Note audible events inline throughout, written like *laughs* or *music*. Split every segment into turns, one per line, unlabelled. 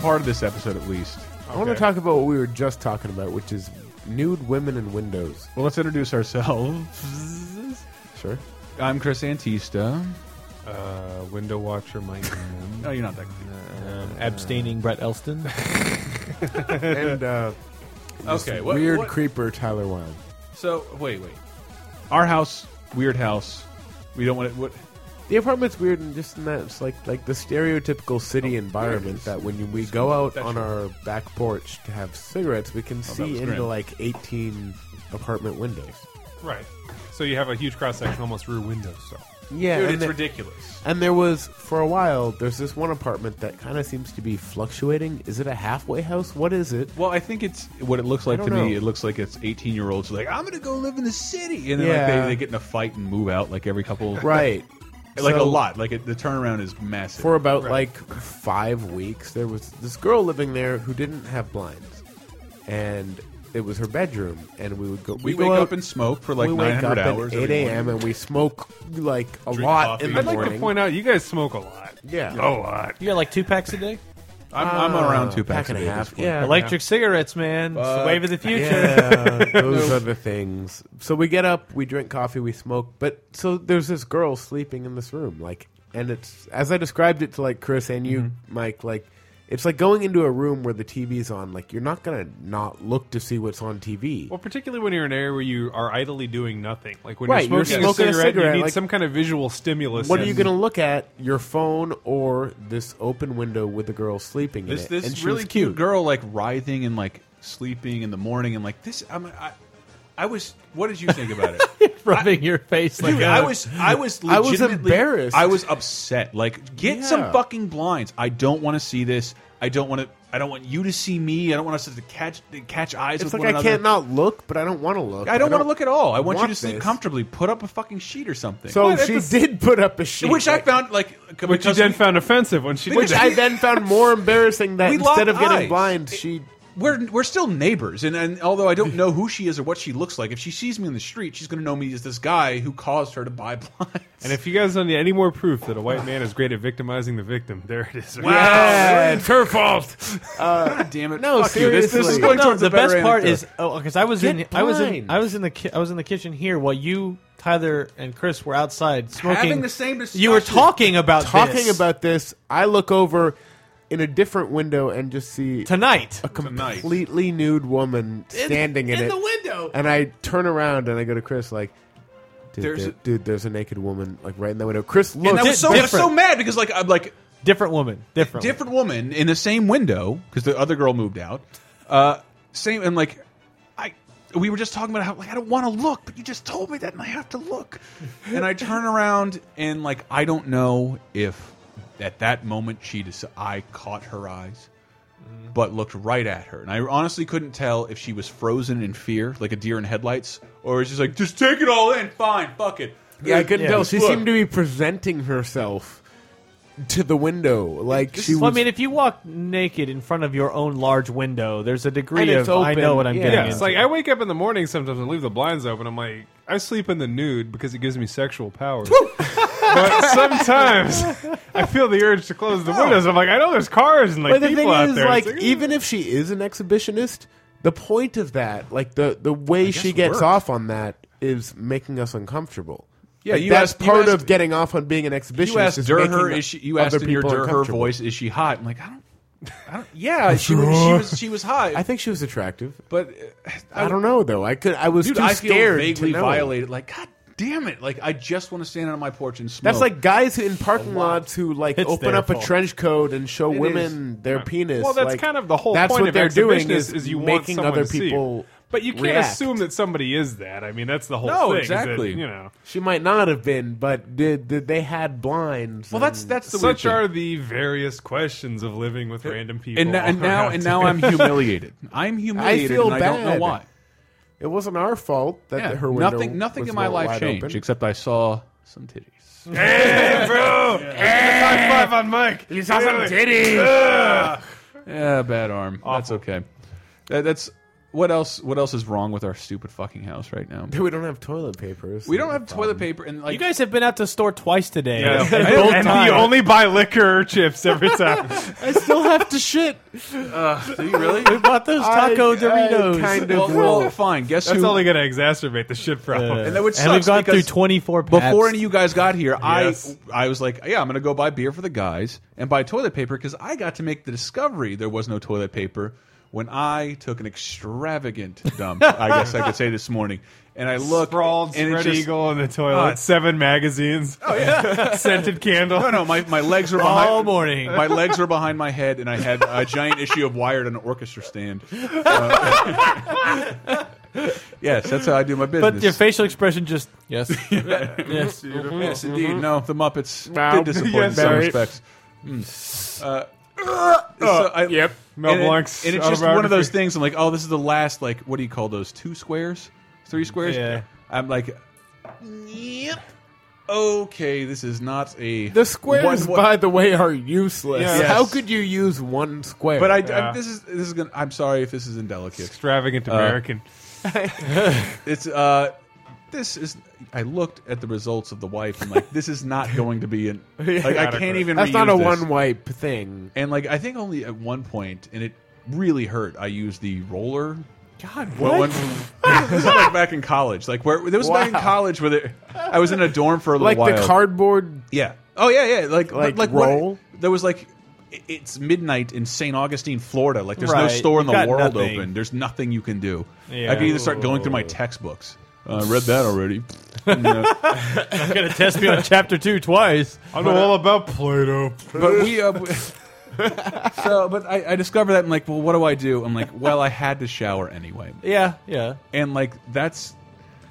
part of this episode at least.
I want to
Okay.
talk about what we were just talking about, which is nude women
*laughs*
and windows.
Well, let's introduce ourselves.
Sure.
I'm Chris Antista.
Uh, window watcher Mike. Hamm.
*laughs* No, you're not that.
Um,
Abstaining Brett Elston.
and uh,
Okay. What,
weird
what-
creeper Tyler Wine.
So wait, wait. Our house, weird house. We don't want it. What?
The apartment's weird and just in that it's like like the stereotypical city environment that when you, we go out
Oh, That's
on
right.
our back porch to have cigarettes, we can see
was
into
grim.
like eighteen apartment windows.
Right. So you have a huge cross section almost rear window. So
Yeah,
Dude,
and,
it's
the-
ridiculous.
and there was for a while. There's this one apartment that kind of seems to be fluctuating. Is it a halfway house? What is it?
Well, I think it's what it looks like
I
to
don't
me.
know.
It looks like it's 18 year olds like I'm gonna go live in the city, and then like
Yeah.
they, they get in a fight and move out like every couple.
Right.
*laughs* *laughs* Like a
So-
lot. Like it, the turnaround is massive.
for about like five weeks there was this girl living there who didn't have blinds and it was her bedroom and we would go
we
we'd go
wake
out-
up and smoke for like
we wake
900
up
hours.
at
every
8 a.m
morning.
and we smoke like a
Drink
lot
coffee.
in the
I'd like
morning
to point out you guys smoke a lot.
yeah
Oh,
A lot.
You got like two packs a day?
I'm, I'm
Uh,
around two packs
pack and a
day at this
half
point.
yeah
Electric cigarettes, man. It's the wave of the
*laughs*
future.
Yeah, those are the things. So we get up, we drink coffee, we smoke. But so there's this girl sleeping in this room, like, and it's as I described it to like Chris and you,
Mm-hmm.
Mike, like. It's like going into a room where the TV's on. Like you're not gonna not look to see what's on TV.
Well, particularly when you're in an area where you are idly doing nothing, like when
Right,
you're
you're
smoking,
smoking
a,
a
cigarette,
cigarette,
you need
like-
some kind of visual stimulus.
what are
and-
you gonna look at? Your phone or this open window with the girl sleeping
This
in it?
this
and she
really
was
cute girl like writhing and like sleeping in the morning and like this. I'm, I I was. What did you think about
*laughs*
it?
Rubbing your face like
Dude,
a-
I was, I was,
I was
legitimately-
embarrassed.
I was upset. Like, get some
Yeah.
fucking blinds. I don't want to see this. I don't want to. I don't want you to see me. I don't want us to catch to catch eyes
It's
with
like
one
I
another.
can't not look, but I don't want to look.
I don't want to look at all. I want, you
want
to sleep
this.
comfortably. Put up a fucking sheet or something.
So
But at
she
the s-
did put up a sheet,
which I
like-
found like
Which you
because
then
we-
found offensive when she
Which
did
I
that.
then found more embarrassing that
We
instead
locked
of getting
eyes.
blind, she
We're we're still neighbors, and, and although I don't know who she is or what she looks like, if she sees me in the street, she's going to know me as this guy who caused her to buy *laughs* blinds.
And if you guys don't need any more proof that a white man is great at victimizing the victim, there it is.
Yeah.
it's her fault.
*laughs* God damn it!
No,
Fuck you. This- This, is
seriously.
going
no,
towards
the
a better
best part
anecdote.
is oh because I was
Get
in I was in
blind.
I was in the ki- I was in the kitchen here while you Tyler and Chris were outside smoking
Having the same discussion.
You were talking about
talking
this
about this. I look over in a different window and just see
tonight.
a completely nude woman standing in,
in
it.
the window.
And I turn around and I go to Chris like, dude,
There's
there's,
a-
a, dude, there's a naked woman like right in the window. Chris looks.
And I was so I was so
different.
mad because like I'm like
Different woman. Different. woman.
different woman in the same window because the other girl moved out. Uh, same and like I we were just talking about how like I don't want to look, but you just told me that and I have to look. and I turn around and like I don't know if at that moment she just I caught her eyes. But looked right at her, and I honestly couldn't tell if she was frozen in fear, like a deer in headlights, or is she like, "Just take it all in, fine, fuck it."
yeah, I couldn't
Yeah.
tell. She
Look.
seemed to be presenting herself to the window like she was.
Well, I mean, if you walk naked in front of your own large window, there's a degree
And
of
it's
I
open.
know what I'm
Yeah.
getting
Yeah,
into.
it's like I wake up in the morning sometimes and leave the blinds open. I'm like, I sleep in the nude because it gives me sexual powers. *laughs* but sometimes I feel the urge to close the windows. I'm like, I know there's cars and like
but the
people
thing
out
is,
there.
like,
It's eh.
even if she is an exhibitionist, the point of that, like the the way she
it
gets
worked.
off on that, is making us uncomfortable.
Yeah,
Like,
you
that's
asked- you
part
asked-
of getting off on being an exhibitionist.
You asked
is
Durher,
making
is she? You
other
asked in your
people
Durher
uncomfortable.
voice, is she hot? I'm like, I don't, I don't. Yeah, she, was- she was. She was hot.
I think she was attractive.
but uh,
I don't know though. I could. I was
dude,
too
I feel
scared.
vaguely
to know.
violated. Like, god damn it! Like, I just want to stand on my porch and smoke.
That's like guys in parking lots who like
It's
open
their
up a
fault.
trench coat and show
It
women
is.
their
Right.
penis.
Well, that's
like,
kind of the whole
That's
point
what
of
they're doing
exhibition is, is you want
making
someone
other
to see.
people.
But you can't
react.
assume that somebody is that. I mean, that's the whole
No,
thing. is that,
exactly.
you know,
She might not have been, but did, did they had blinds?
well, that's that's the
such
weird
are the various questions of living with random
thing.
people.
and, now- and now and now I'm humiliated.
*laughs*
I'm humiliated.
feel
and I don't know
bad.
why.
It wasn't our fault that
Yeah,
her window.
nothing nothing
was
in my
wa-
life
wide
changed
open.
except I saw some titties.
*laughs*
bro. High five on Mike. You saw some titties.
Yeah, bad arm. That's okay. That, that's what else? What else is wrong with our stupid fucking house right now?
*laughs* We don't have toilet papers.
We don't have toilet paper, and like
You guys have been out to store twice today.
Yeah.
*laughs* And
*laughs*
both
and
times.
you only buy liquor or chips
*laughs*
every time.
I still have to shit.
do you really?
we bought those taco Doritos.
kind
well,
of.
well, fine. Guess
That's
who?
only going to exacerbate the shit problem.
and that would
and we've
suck
gone through
because
24 Pabst.
before any of you guys got here,
Yes.
I I was like, yeah, I'm gonna go buy beer for the guys and buy toilet paper because I got to make the discovery there was no toilet paper when I took an extravagant dump. I guess I could say this morning, and I looked
Sprawled
and it
spread
just-
eagle in the toilet,
Oh.
seven magazines, oh, yeah.
*laughs*
scented candle.
No, no, my, my legs were behind
all morning.
My legs were behind my head, and I had a giant issue of Wired on an orchestra stand. Uh, *laughs* yes, that's how I do my business.
*laughs* But your facial expression just *laughs* yes, yes.
Yes, indeed. No, the Muppets
Wow.
did disappoint in
Yes,
some
very.
respects. Mm. Uh, so I-
Yep.
Mel
and it-
Blanc's
and it's just one of those
autobiography.
things. I'm like, oh, this is the last. Like, what do you call those? Two squares, three
Mm,
squares.
Yeah.
I'm like, yep. Okay, this is not a
The squares,
one- one-
by the way, are useless.
Yes.
How could you use one square?
But I, I
Yeah.
this is this is gonna. I'm sorry if this is indelicate. Uh,
Extravagant American.
It's uh, this is. I looked at the results of the wife and like this is not going to
*laughs*
be an. Like I can't even.
That's not
reuse
a
this.
one wipe thing.
And like I think only at one point, and it really hurt. I used the roller.
God,
Well, when-
*laughs*
this was like back in college. Like where there was back in
Wow.
college where there, I was in a dorm for a little
Like
while.
the cardboard.
Yeah. Oh yeah, yeah. Like
Like
like, what-
roll?
there was like i- it's midnight in St. Augustine, Florida. Like there's no
Right.
store in the
You've got
world
nothing.
open. There's nothing you can do.
Yeah.
I could either start going through my textbooks. Uh, I read that already.
I'm gonna test me on chapter two twice.
I know all about Plato.
but we uh, we- *laughs* so but I, I discovered that I'm like, well, what do I do? I'm like, well, I had to shower anyway,
Yeah, yeah.
and like that's.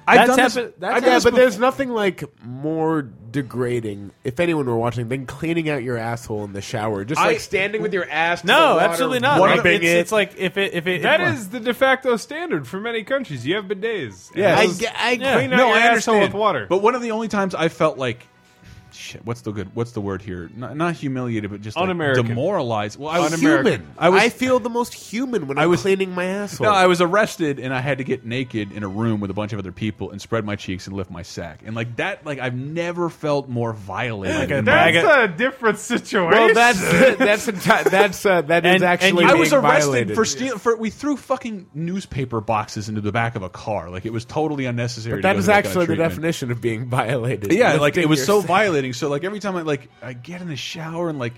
I've
That's
done this-
happen- that's
I've done
Yeah,
this
but
before.
there's nothing like more degrading, if anyone were watching, than cleaning out your asshole in the shower. Just
I-
like standing with your ass. to the
No,
water,
absolutely not.
One
Like,
of
rubbing
it's,
it.
it's like if it if it
That
if-
is the de facto standard for many countries. You have bidets. And
I,
those-
ge- I
clean out
no,
your
I
asshole
understand.
with water.
But one of the only times I felt like, shit, what's the good? What's the word here? Not, not humiliated, but just like,
Un-American.
demoralized. Well, I was
Un-American.
human.
I
I,
was-
feel the most human when I'm cleaning my asshole.
No, I was arrested and I had to get naked in a room with a bunch of other people and spread my cheeks and lift my sack. And like that, like I've never felt more violated. in my-
that's
bag of-
a different situation.
well,
*laughs*
that's that's enti- that's uh, that is
And- and
actually.
you-
I
being
was arrested
violated.
for stealing. For we threw fucking newspaper boxes into the back of a car. Like it was totally unnecessary. to
That
go
is
through kind of
actually the
treatment.
definition of being violated.
Yeah, like it
Lifting
was so
your-
*laughs*
violating. So like every time I like I get in the shower and like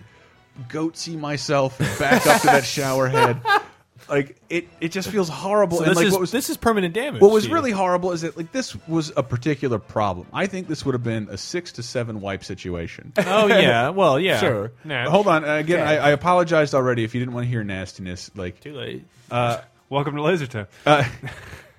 goatsy myself and back up to that shower head, *laughs* like it it just feels horrible.
So
and
this
like
is
what was
this is permanent damage.
what was
to you.
really horrible is that like this was a particular problem. I think this would have been a six to seven wipe
*laughs*
situation.
Oh yeah. Well yeah.
Sure.
Nah,
Hold on, again, I, I apologized already if you didn't want to hear nastiness. Like
Too late.
Welcome to Laser Time.
Uh,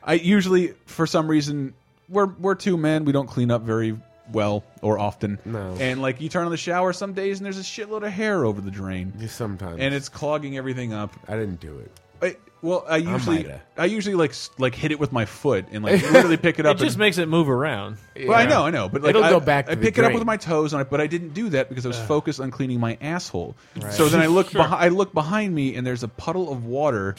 I usually, for some reason, we're we're two men. We don't clean up very well or often.
No.
And like you turn on the shower some days, and there's a shitload of hair over the drain,
Sometimes,
and it's clogging everything up.
I didn't do it.
I, well, I usually
might've.
I usually like s- like hit it with my foot and like literally pick it
It
up.
just
and,
makes it move around.
well, I know, I know, but like
It'll
I,
go back
I
to the
pick it up
drain.
with my toes, and I, but I didn't do that because I was focused on cleaning my asshole. So then I look, behi- I look behind me, and there's a puddle of
*laughs*
water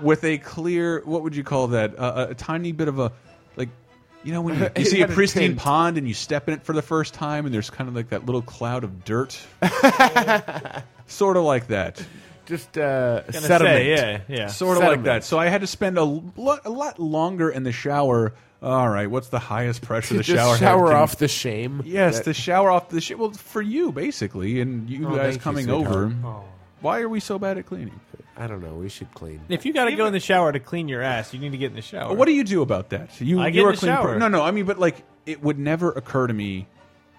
with a clear, what would you call that? Uh, a, a tiny bit of a, like, you know, when you,
*laughs*
you
It
see a
had a
pristine
tint.
pond and you step in it for the first time, and there's kind of like that little cloud of
*laughs*
dirt, sort of like that.
Just uh,
Gonna
sediment.
Say, yeah, yeah.
sort of like
Sediment.
that. So I had to spend a, lo a lot longer in the shower. All right, what's the highest
*laughs*
pressure the
Just
shower
shower,
head can-
off the shame.
Yes, to shower off the shit. Well, for you basically, and you
Oh,
guys
thank you,
coming
sweetheart.
over. Why are we so bad at cleaning?
I don't know. We should clean.
If you got to go in the shower to clean your ass, you need to get in the shower.
What do you do about that? You
I
you
get in
are
the
clean per-
shower.
No, no. I mean, but like it would never occur to me.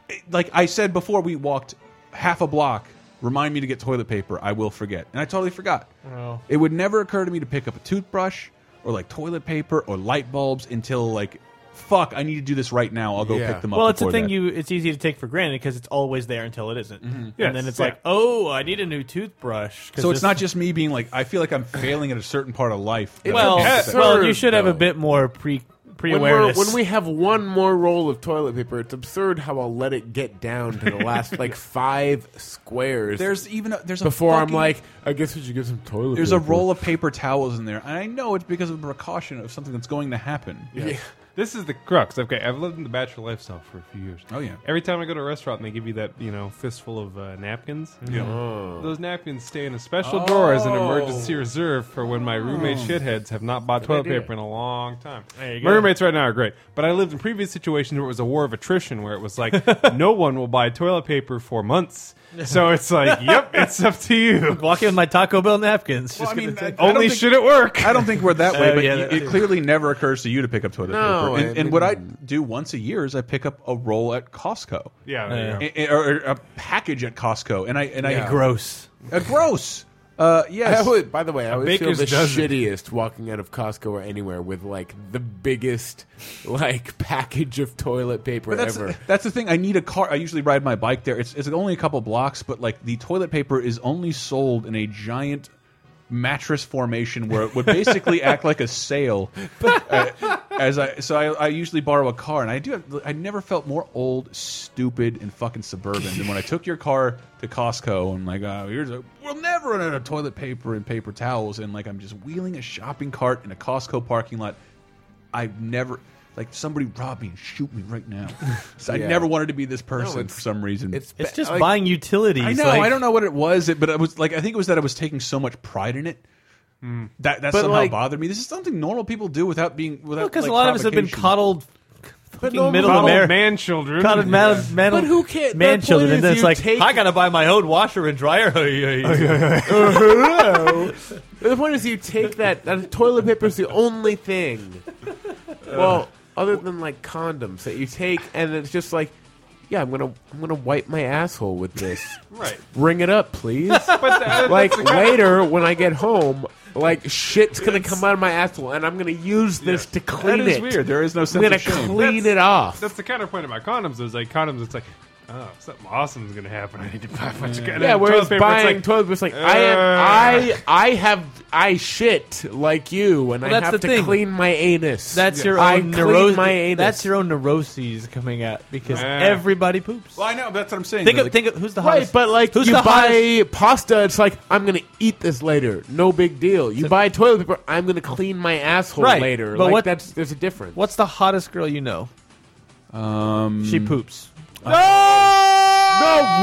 it- like I said before, we walked half a block. Remind me to get toilet paper. I will forget, and I totally forgot.
Oh.
It would never occur to me to pick up a toothbrush or like toilet paper or light bulbs until like, fuck, I need to do this right now. I'll go
Yeah.
pick them up.
Well, it's a
before
thing
that.
you. It's easy to take for granted because it's always there until it isn't.
Mm-hmm.
Yes,
and then it's
yeah.
like, oh, I need a new toothbrush. 'cause
So it's
this-
not just me being like, I feel like I'm failing at a certain part of life.
*laughs* well,
absurd,
well, you should have a
though.
bit more pre
when, we're,
pre-awareness.
when we have one more roll of toilet paper, it's absurd how I'll let it get down to the
*laughs*
last like five squares
There's even a, there's a
before I'm
fucking-
like, I guess we should get some toilet.
there's a
paper.
roll of paper towels in there, and I know it's because of a precaution of something that's going to happen.
Yeah.
This is the crux. Okay, I've lived in the bachelor lifestyle for a few years.
Oh, yeah.
Every time I go to a restaurant, and they give you that you know fistful of uh, napkins.
Yeah.
Those napkins stay in a special drawer as an emergency reserve for when my roommate shitheads have not bought toilet
idea.
paper in a long time.
There you
My
go.
roommates right now are great, but I lived in previous situations where it was a war of attrition, where it was like no one will buy toilet paper for months. So it's like, yep, it's up to you.
*laughs* Walk in with my Taco Bell napkins.
Well,
just
I mean,
gonna take-
I don't
Only
think-
should it work.
I don't think we're that way,
Oh,
but
yeah,
you-
that
it
too.
clearly never occurs to you to pick up toilet
No,
paper.
I
And, and what I
mean-
do once a year is I pick up a roll at Costco,
Yeah. there you
Yeah.
I- I-
go.
or a package at Costco, and I and I
gross.
Uh, gross. Uh,
I
yes,
would, by the way, I would feel
baker's
the
dozen.
shittiest walking out of Costco or anywhere with like the biggest like *laughs* package of toilet paper
But that's
ever.
that's the thing. I need a car. I usually ride my bike there. It's it's only a couple blocks, but like the toilet paper is only sold in a giant mattress formation where it would
*laughs*
basically act like a sale. Uh, as I so I, I usually borrow a car, and I do. Have, I never felt more old, stupid, and fucking suburban than when I took your car to Costco and like, oh, here's a we'll never run out of toilet paper and paper towels, and like I'm just wheeling a shopping cart in a Costco parking lot. I've never like somebody rob me and shoot me right now. *laughs* So I
Yeah.
never wanted to be this person
it's-
for some reason.
It's
ba-
just
like,
buying utilities.
I know
like-
I don't know what it was, it- but it was like I think it was that I was taking so much pride in it. That that
But,
somehow
like-
bothered me. This is something normal people do without being without
Because
like,
a lot of us have been
provocation.
coddled, fucking
no,
middle
*laughs*
Coddled
America,
man children.
coddled man, man,
But who cares?
man
The
children,
point
and
is
then it's
you
like
take-
I gotta buy my own washer and dryer. *laughs*
Oh,
The point is, you take that. That toilet paper is the only thing. Well, other than like condoms that you take, and it's just like, yeah, I'm gonna, I'm gonna wipe my asshole with this.
Right.
Ring it up, please.
But
*laughs*
that-
like later when I get home, like shit's gonna come out of my asshole, and I'm gonna use this to clean
That is
it.
weird. There is no
I'm
sense
gonna
of shame.
clean it off. *laughs*
That's the counterpoint about condoms. Is like condoms. It's like, oh, something awesome's gonna happen. I need to buy a bunch of condoms.
yeah, whereas
toilet paper,
buying
it's like,
toilet paper is like uh. I am I I have I shit like you, and
Well,
I
that's
have
the
to
thing.
clean my anus.
That's your
I
own neuroses.
clean my anus.
That's your own neuroses coming out because
Yeah.
everybody poops.
Well, I know. That's what I'm saying.
think
though,
of
like-
think of who's the
Right,
hottest.
but like
who's
you
the hottest?
buy pasta, it's like I'm gonna eat this later. No big deal. You buy toilet paper, I'm gonna clean my asshole
Right,
later.
but
like
what-
that's there's a difference.
What's the hottest girl you know? Um, she poops.
no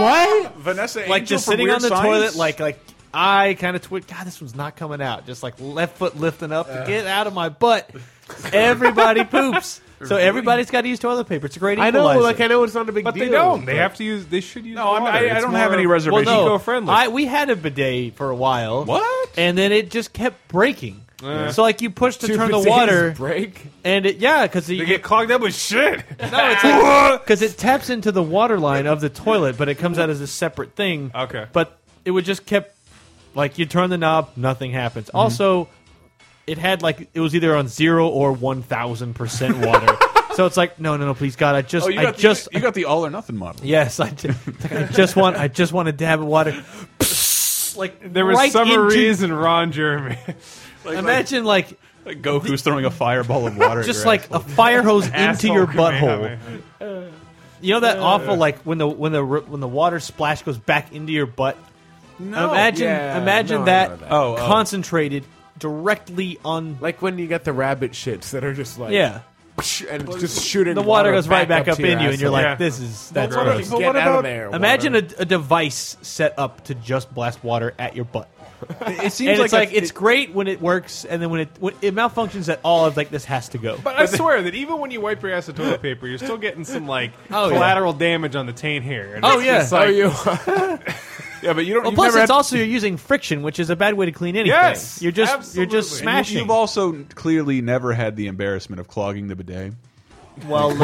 what?
Vanessa,
like
Angel
just
from
sitting
Weird
on the
Science?
toilet, like like I kind of twitch. God, this one's not coming out. Just like left foot lifting up to get out of my butt. Everybody poops, so everybody's got to use toilet paper. It's a great
I
equalizer.
know, like I know it's not a big
But
deal.
they don't. They have to use. They should use.
No, I'm-
water.
I- I
It's
don't have
more-
any
well,
reservations.
no,
eco-friendly.
I we had a bidet for a while.
What?
And then it just kept breaking. So like you push to
Two
turn the
potatoes
water,
break.
and it yeah, because
They get clogged up with *laughs* shit.
No, it's like because it taps into the water line of the toilet, but it comes out as a separate thing.
Okay.
But it would just kept like you turn the knob, nothing happens. Also, it had like it was either on zero or one thousand percent water. so it's like no, no, no, please God, I just,
Oh, you
I
got, the,
just,
you got the all or nothing model.
*laughs* yes, I, ju- it's like, I just want, I just want a dab of water. like
There was
right
summaries and Ron Jeremy.
Into, imagine like
Like Goku's throwing a fireball of water. at
just
your
like a fire hose into
Asshole
your
Kamehameha.
butthole. You know that awful like when the when the r- when the water splash goes back into your butt.
No,
imagine
yeah,
imagine
no, I know
that,
that.
Oh, oh.
concentrated directly on
Like when you got the rabbit shits that are just like
yeah.
and it's just shooting.
The water goes right back up,
to
in you,
your
and you're
asshole.
like,
Yeah.
"This is that's
what
gross."
if-
Just
But
get
what
out
about-
of there. water.
Imagine a, a device set up to just blast water at your butt,
ass. *laughs* It seems
and it's like
a-
it's great when it works, and then when it when it malfunctions at all, it's like this has to go.
But I swear that even when you wipe your ass with toilet paper, you're still getting some like
*laughs* Oh, yeah.
collateral damage on the taint hair.
*laughs*
And
Oh
it's
yeah.
just
*laughs*
like-
you? *laughs*
yeah, but you don't.
Well,
you've
plus
never had-
it's also you're using friction, which is a bad way to clean anything.
Yes,
you're just
absolutely.
you're just
And you-
smashing.
You've also clearly never had the embarrassment of clogging the bidet.
Well,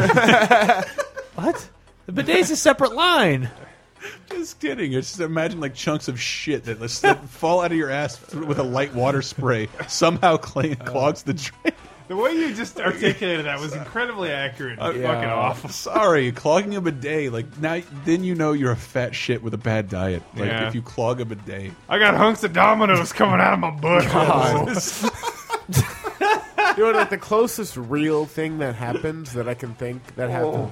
what? The bidet's a separate line.
Just kidding. It's just imagine like chunks of shit that, just- *laughs* that fall out of your ass through- with a light water spray somehow cl- clogs the drain.
The way you just articulated that was incredibly accurate. and
yeah.
Fucking awful.
Sorry, clogging a bidet. Like now, then you know you're a fat shit with a bad diet. Like
Yeah.
if you clog a bidet.
I got hunks of dominoes coming out of my butt.
you know what? The closest real thing that happens that I can think that happened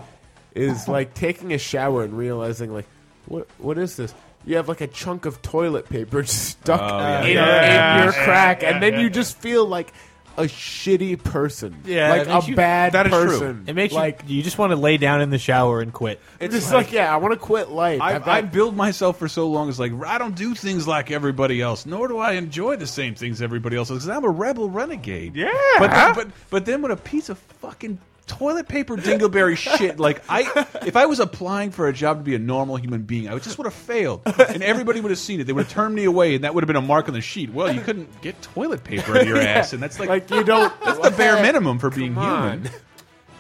is like taking a shower and realizing like, what what is this? You have like a chunk of toilet paper *laughs* stuck
Oh, yeah.
in,
Yeah.
in your
Yeah,
crack,
yeah,
and then
yeah,
you
yeah.
just feel like a shitty person,
Yeah, it
like
makes
a
you-
bad
that is true.
person.
It makes
like
you you just want to lay down in the shower and quit.
it's just like, yeah, I want to quit life.
I,
I've
I
got-
build myself for so long as like I don't do things like everybody else, nor do I enjoy the same things everybody else does. 'cause I'm a rebel renegade.
Yeah.
But then, but but then when a piece of fucking toilet paper *laughs* dingleberry shit like I if I was applying for a job to be a normal human being, I would just would have failed, and everybody would have seen it. They would have turned me away, and that would have been a mark on the sheet. Well, you couldn't get toilet paper *laughs* in your ass, and that's like,
*laughs* like you don't.
that's the bare minimum for being
on.
human.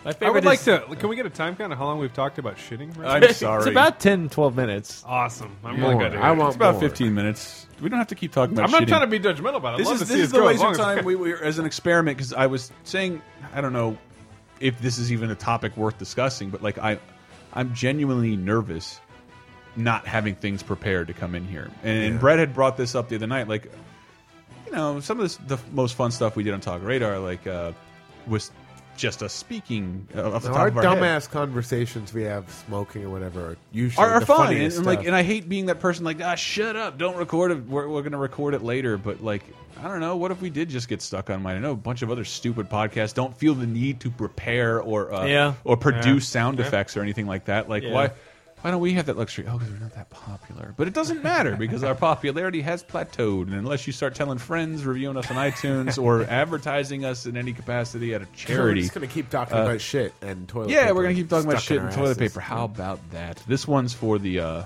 My
I
favorite
would
*laughs*
like
is-
to. Can we get a time count of how long we've talked about shitting? right now?
I'm sorry.
It's about 10, 12 minutes.
awesome. I'm
More.
really good. At it.
I want
It's about
more.
15 minutes. We don't have to keep talking about.
I'm not
shitting.
trying to be judgmental about it.
this
I'd love
is
to
this
see
is
us
the
go as
laser
long as we
time
can.
we were as an experiment because I was saying I don't know if this is even a topic worth discussing, but like I, I'm genuinely nervous not having things prepared to come in here. And, and Brett had brought this up the other night, like you know some of this, the most fun stuff we did on Talk Radar, like uh, was just us speaking uh, off the top
our
of our head.
dumbass conversations we have smoking or whatever are usually
are, are
the
fine and,
funniest
and, like
stuff.
and i hate being that person like ah shut up don't record it we're, we're gonna record it later but like i don't know what if we did just get stuck on mine i know a bunch of other stupid podcasts don't feel the need to prepare or uh,
Yeah.
or produce sound effects or anything like that like
Yeah.
why why don't we have that luxury? Oh, because we're not that popular. But it doesn't matter because our popularity has plateaued. And unless you start telling friends, reviewing us on iTunes,
*laughs*
or advertising us in any capacity at a
We're
charity,
just gonna keep talking about shit and toilet.
yeah,
paper
we're gonna keep talking about
stuck in
shit
our
and toilet
asses.
paper. How about that? This one's for the. Uh,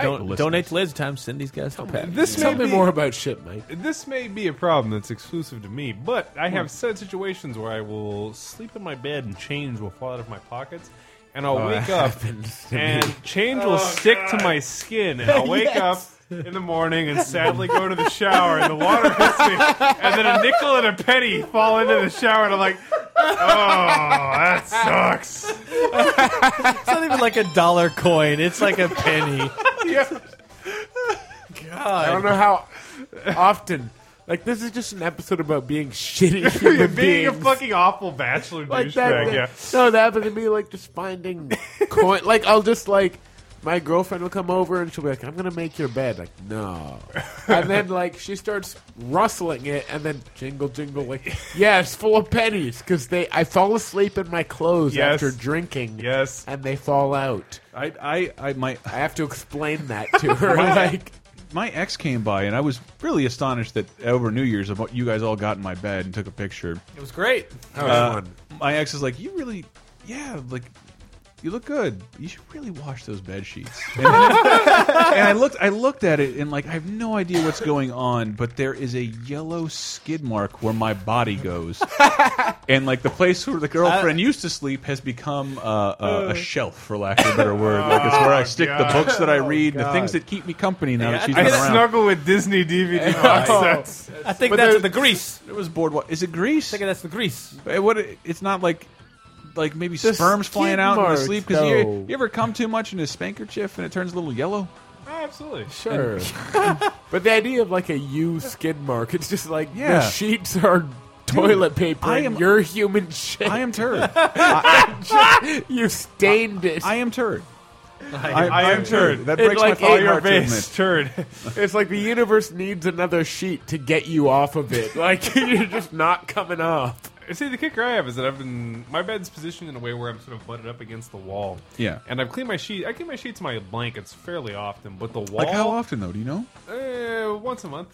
Don't,
listeners.
donate to Laser Time. Send these guys some packs.
This
Tell
may
me
be,
more about shit, Mike.
This may be a problem that's exclusive to me, but I have said situations where I will sleep in my bed and change will fall out of my pockets, and
Oh,
I'll wake up and change will stick to my
*laughs*
skin, and I'll wake up in the morning and sadly go to the shower, and the water hits me, and then a nickel and a penny fall into the shower, and I'm like, oh, that sucks.
It's not even like a dollar coin. It's like a penny.
I don't know how often. Like this is just an episode about being shitty human
You're being a
beings.
fucking awful
*laughs*
bachelor
like that.
douchebag. Yeah.
*laughs* No, that happened to me. Like just finding coin. Like I'll just like my girlfriend will come over and she'll be like, "I'm gonna make your bed." Like no, and then like she starts rustling it and then jingle jingle. Like yeah, it's full of pennies because they. I fall asleep in my clothes
Yes.
after drinking.
Yes.
and they fall out.
I, I, I, my,
I have to explain that to her. like
my ex came by and I was really astonised that over New Year's, about you guys all got in my bed and took a picture.
It was great.
that was
Uh,
fun.
my ex is like, you really, yeah, like. You look good. You should really wash those bed sheets. *laughs* And, and I looked, I looked at it, and like I have no idea what's going on, but there is a yellow skid mark where my body goes, and like the place where the girlfriend used to sleep has become uh, a, a shelf, for lack of a better word. Like it's where I stick
God.
the books that I read, the
God.
things that keep me company now that she's
I
not
I
around.
snuggle with
*laughs*
Disney DVD
Oh.
box sets.
I think
But
that's
there-
the grease.
It was board. What is it? Grease?
I think that's the grease.
It- what? It's not like like maybe
The
sperms
skid
flying out in
marks,
the sleep because you,
though.
you ever come too much in a spankerchief and it turns a little yellow.
Absolutely.
*laughs*
Sure. but the idea of like a you skid mark, it's just like
Yeah.
the sheets are toilet paper
I
and
am-
you're human shit.
I am
*laughs*
turd.
*laughs* you stained it.
I am turd.
I,
I am turd.
That
It
breaks
like
my fucking
ate
heart to
Face *laughs*
admit.
turd.
it's like the universe needs another sheet to get you off of it. Like *laughs* you're just not coming off.
See, the kicker I have is that I've been my bed's positioned in a way where I'm sort of butted up against the wall.
Yeah.
and I've cleaned my sheet. I clean my sheets, and my blankets fairly often, but the wall
Like how often though? Do you know?
Uh, once a month.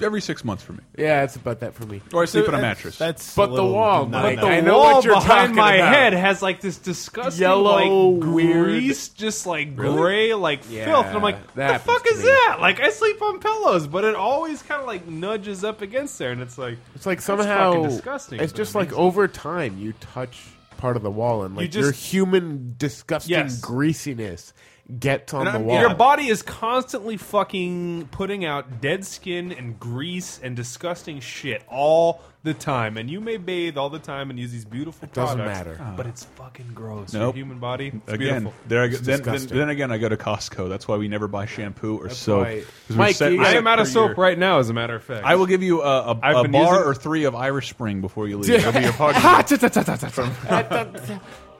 Every six months for me.
Yeah, it's about that for me.
Or I sleep on a mattress.
That's
But
a
the
little
wall,
not
Mike,
enough.
The
I know
wall
what you're
behind
talking
my
about.
head has like this disgusting
Yellow,
like
weird-
grease, just like gray, like
Yeah,
filth. And I'm like,
that
what the
happens
fuck
to
is
me.
that? Like I sleep on pillows, but it always kind of like nudges up against there, and it's like
It's like
fucking
somehow
disgusting,
It's
but
just like
amazing.
over time you touch part of the wall and like
just-
your human disgusting
Yes.
greasiness gets on
And
the
I'm-
wall.
Your body is constantly fucking putting out dead skin and grease and disgusting shit all the time, and you may bathe all the time and use these beautiful it
doesn't
products,
matter.
but it's fucking gross.
Nope.
Your human body, it's
Again,
beautiful.
there I go, then, then,
disgusting.
then again, I go to Costco. That's why we never buy shampoo or soap.
why-
'Cause we
Mike,
set-
you
I
I
gotta-
set
am out of
per
soap
year.
right now, as a matter of fact.
I will give you a, a,
I've
a
been
bar
using-
or three of Irish Spring before
*laughs*
you leave. That'll be your party.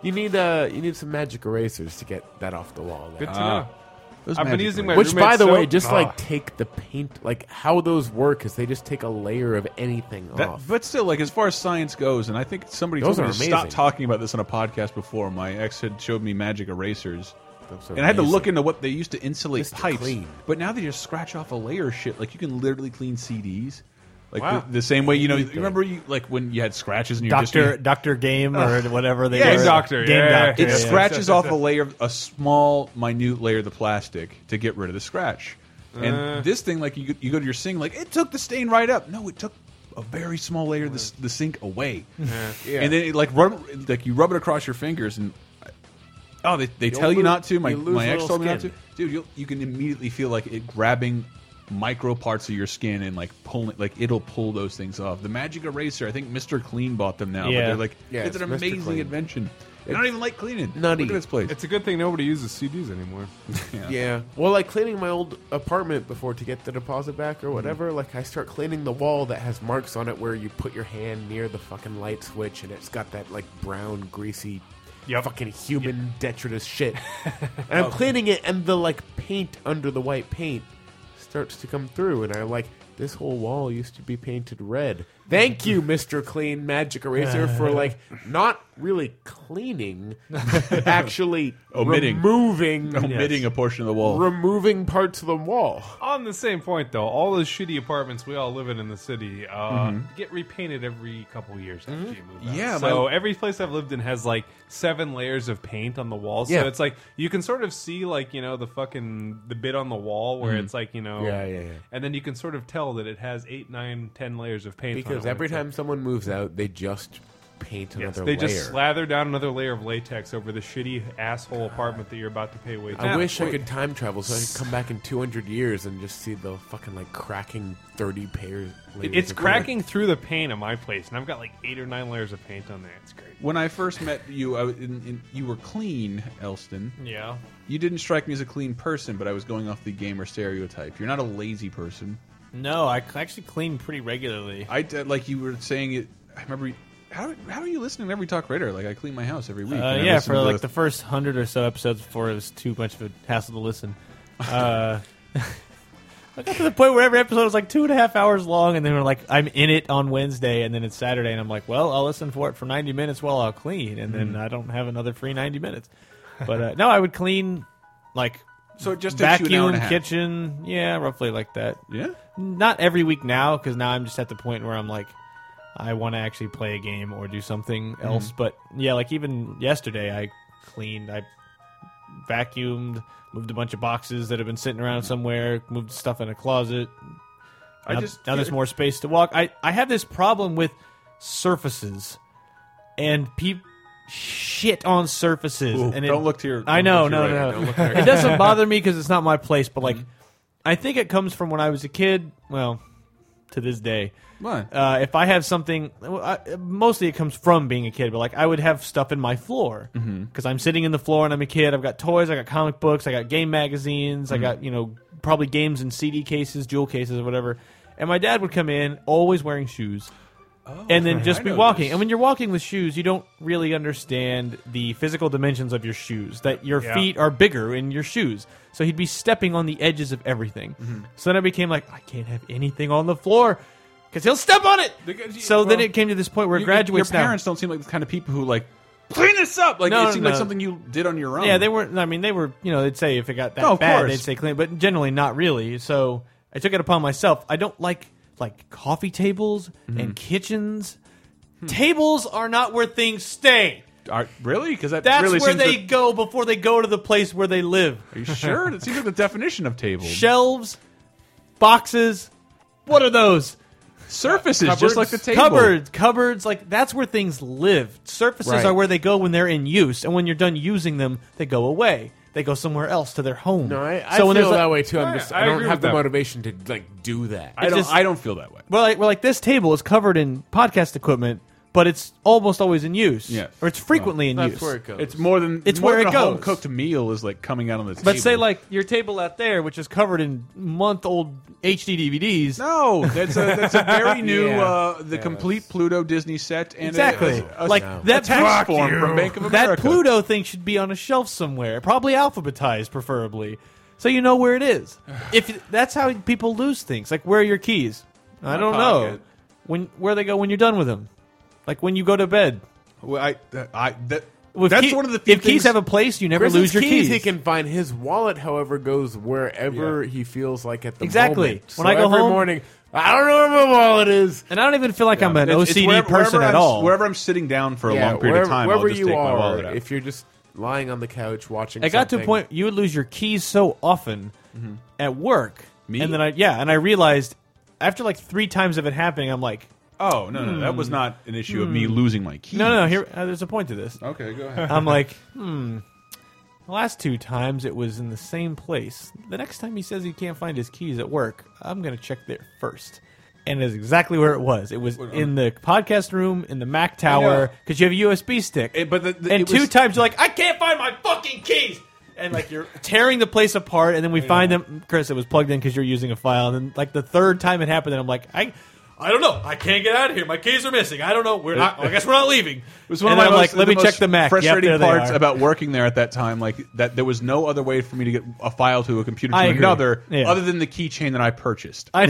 you need uh, you need some magic erasers to get that off the wall. There.
Good to
Ah.
know. I've been using my
Which, by
roommate's
the way,
soap.
just
Ah.
like take the paint, like how those work is they just take a layer of anything
That,
off.
but still, like as far as science goes, and I think somebody
Those
told me
are
to stop
amazing.
talking about this on a podcast before. My ex had showed me magic erasers,
Those are
and I had to
amazing.
look into what they used to insulate
Just to
pipes.
clean.
But now they just scratch off a layer of shit. Like you can literally clean CDs, like
Wow.
the, the same way you know. You
Anything.
remember you like when you had scratches and you just
Doctor Doctor Game or whatever they
Yeah,
were.
Doctor,
Game
yeah,
Doctor.
it
yeah, yeah.
*laughs*
scratches
Yeah.
off a layer, of- a small, minute layer of the plastic to get rid of the scratch. And
Uh.
this thing, like you, go- you go to your sink, like it took the stain right up. No, it took a very small layer of the, s- the sink away, and then it, like rub, like you rub it across your fingers, and oh, they, they tell you
lose-
not to. My,
you'll lose
my ex
little
told me not to,
skin.
dude. You'll, you can immediately feel like it grabbing micro parts of your skin and like pulling, like it'll pull those things off. The magic eraser, I think Mister Clean bought them now. but
Yeah.
they're like
Yeah,
it's,
it's
an
Mr.
amazing
Clean.
invention. I don't even like cleaning.
nutty.
Look at this place.
It's a good thing nobody uses CDs anymore.
Yeah. Well, like cleaning my old apartment before to get the deposit back
Mm-hmm.
or whatever, like I start cleaning the wall that has marks on it where you put your hand near the fucking light switch and it's got that like brown, greasy, fucking human detritus
*laughs*
shit. and
Oh.
I'm cleaning it and the like paint under the white paint starts to come through and I'm like, this whole wall used to be painted red. Thank you, Mr. Clean Magic Eraser,
*laughs*
for like not really cleaning,
*laughs*
actually
Omitting.
removing
omitting a portion of the wall.
removing parts of the wall.
On the same point, though, all those shitty apartments we all live in in the city uh,
Mm-hmm.
get repainted every couple years after you move out.
Yeah,
so
my-
every place I've lived in has like seven layers of paint on the walls.
Yeah.
So it's like you can sort of see like you know the fucking the bit on the wall where it's like you know
Mm-hmm. Yeah, yeah, yeah.
and then you can sort of tell that it has eight, nine, ten layers of paint on it
Because
when
every
it's, like,
time someone moves out, they just paint
Yes,
another
they
layer.
just slather down another layer of latex over the shitty asshole apartment that you're about to pay way too
I
much
wish I
for.
could time travel so I could come back in 200 years and just see the fucking like cracking 30 pairs. layers
It's
of
cracking through the paint in my place, and I've got like eight or nine layers of paint on there. It's great.
when I first met you, I, was in, in, you were clean, Elston.
Yeah.
You didn't strike me as a clean person, but I was going off the gamer stereotype. You're not a lazy person.
No, I c- actually clean pretty regularly.
I d- like you were saying it. I remember. You, how how are you listening to every talk radar? Like I clean my house every week.
Uh,
and I
yeah,
listen
for
to
like the first hundred or so episodes before it was too much of a hassle
*laughs*
to listen. Uh, *laughs* I got to the point where every episode was like two and a half hours long, and then we're like, I'm in it on Wednesday, and then it's Saturday, and I'm like, well, I'll listen for it for 90 minutes while I'll clean, and
Mm-hmm.
then I don't have another free 90 minutes. But uh, no, I would clean like
so it just takes you an hour and
vacuum,
a half.
kitchen, yeah, roughly like that.
Yeah,
Not every week now, because now I'm just at the point where I'm like, I want to actually play a game or do something
Mm-hmm.
else. But yeah, like even yesterday, I cleaned, I vacuumed, moved a bunch of boxes that have been sitting around somewhere, moved stuff in a closet.
Mm-hmm. I
now,
just-
now there's more space to walk. I I have this problem with surfaces and people shit on surfaces.
Ooh,
and it-
don't look to your-
I
don't
know,
look to
no,
your
no,
right. Mm-hmm. Don't
no.
look to your
it doesn't bother me because it's not my place. But like, I think it comes from when I was a kid. Well, to this day,
What?
uh, if I have something, well, I, mostly it comes from being a kid, but like I would have stuff in my floor because
Mm-hmm.
I'm sitting in the floor and I'm a kid. I've got toys, I got comic books, I got game magazines,
Mm-hmm.
I got you know probably games in CD cases, jewel cases, or whatever. And my dad would come in always wearing shoes. and then
Oh,
just
I
be
know
walking.
this.
And when you're walking with shoes, you don't really understand the physical dimensions of your shoes. That your
Yeah.
feet are bigger in your shoes. So he'd be stepping on the edges of everything.
Mm-hmm.
So then I became like, I can't have anything on the floor because he'll step on it.
Because-
So then
well,
it came to this point where it
You-
graduates
Your
now.
parents don't seem like the kind of people who like clean this up. Like
No,
it
no,
seemed like
no.
something you did on your own.
Yeah, they weren't. I mean, they were. You know, they'd say if it got that
No, Oh, of
bad,
course.
they'd say clean. But generally, not really. So I took it upon myself. I don't like like coffee tables
Mm-hmm.
and kitchens.
Hmm.
Tables are not where things stay.
Are- really because that
That's
really
where
seems
they
The,
go before they go to the place where they live.
are you sure? It seems like the definition of table.
Shelves, boxes. What are those?
Surfaces just like the table.
Cupboards, cupboards, like that's where things live. Surfaces
Right.
are where they go when they're in use, and when you're done using them, they go away. They go somewhere else to their home.
No, I, I
so
feel
when there's like,
that way too. I'm
I-
just,
I
I, don't
agree
have
with
the
that.
motivation to like do that.
I don't.
just-
I don't feel that way.
We're like, we're like this table is covered in podcast equipment, but it's almost always in use.
Yes.
Or it's frequently in
That's
use.
where it goes.
It's more than
It's
more
where
than
it
a home
goes.
cooked meal is like coming out on the table.
But say like your table out there, which is covered in month-old HD DVDs.
no, that's a that's a
*laughs*
very new
Yeah.
uh, the complete Pluto Disney set and a-
Exactly.
a,
Like,
a
that-
tax
Fuck
form
you.
from Bank of America.
That Pluto thing should be on a shelf somewhere, probably alphabetized, preferably, so you know where
*sighs*
it is. if that's how people lose things, like where are your keys? I don't know.
pocket.
When where they go when you're done with them, like when you go to bed.
Well, I, I that,
If
that's
key-
one of the few
if keys
things-
have a place, you never
Chris's
lose your keys.
He can find his wallet, however, goes wherever he feels like at the
Exactly.
moment.
When I go
every
home-
morning, I don't know where my wallet is.
and I don't even feel like I'm an
It's- it's
OCD
wherever-
person
wherever
at
I'm-
all.
Wherever I'm sitting down for a long period
wherever,
of time,
wherever
I'll just
you
take
are,
my wallet out.
if you're just lying on the couch watching,
I got to a
something,
point you would lose your keys so often at work.
Mm-hmm. Me?
And then I yeah, and I realized after like three times of it happening, I'm like,
oh no, no, that was not an issue of me losing my keys.
Hmm. no, no, here uh, there's a point to this.
Okay, go ahead.
I'm like, hmm. The last two times it was in the same place. The next time he says he can't find his keys at work, I'm gonna check there first. And it's exactly where it was. It was
um,
in the podcast room in the Mac tower because you have a USB stick.
It- but the- the-
and
it
two
was-
times you're like, I can't find my fucking keys. And like you're tearing the place apart, and then we find them. Chris, it was plugged in because you're using a file. And then like the third time it happened, and I'm like, I, I don't know. I can't get out of here. My keys are missing. I don't know. We're not. I guess we're not leaving.
It was one
And
of my
I'm
most,
like, let
the
me check
most
the Mac. Yep,
Frustrating
there they
parts
are.
about working there at that time, like that, there was no other way for me to get a file to a computer to
I agree.
another,
Yeah.
other than the keychain that I purchased.
*laughs* I,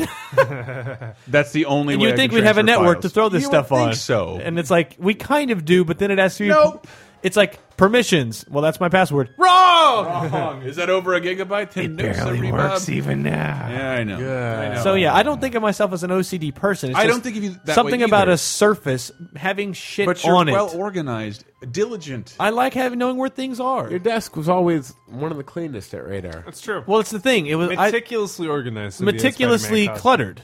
That's the only way.
you
I
think
could
we'd have a
transfer
network to
files.
throw this
You
stuff
would
on?
Think so.
And it's like we kind of do, but then it asks you.
Nope.
It's like permissions. Well, that's my password.
wrong. Is that over a gigabyte? It e-
even now.
Yeah, I know. I know.
So yeah, I don't think of myself as an OCD person. It's
I
just
don't think of you that way
something about
either.
a surface having shit
but you're
on
well
it.
organized, diligent.
I like having knowing where things are.
Your desk was always one of the cleanest at Radar.
That's true.
well, it's the thing. It was I,
meticulously organized.
meticulously cluttered.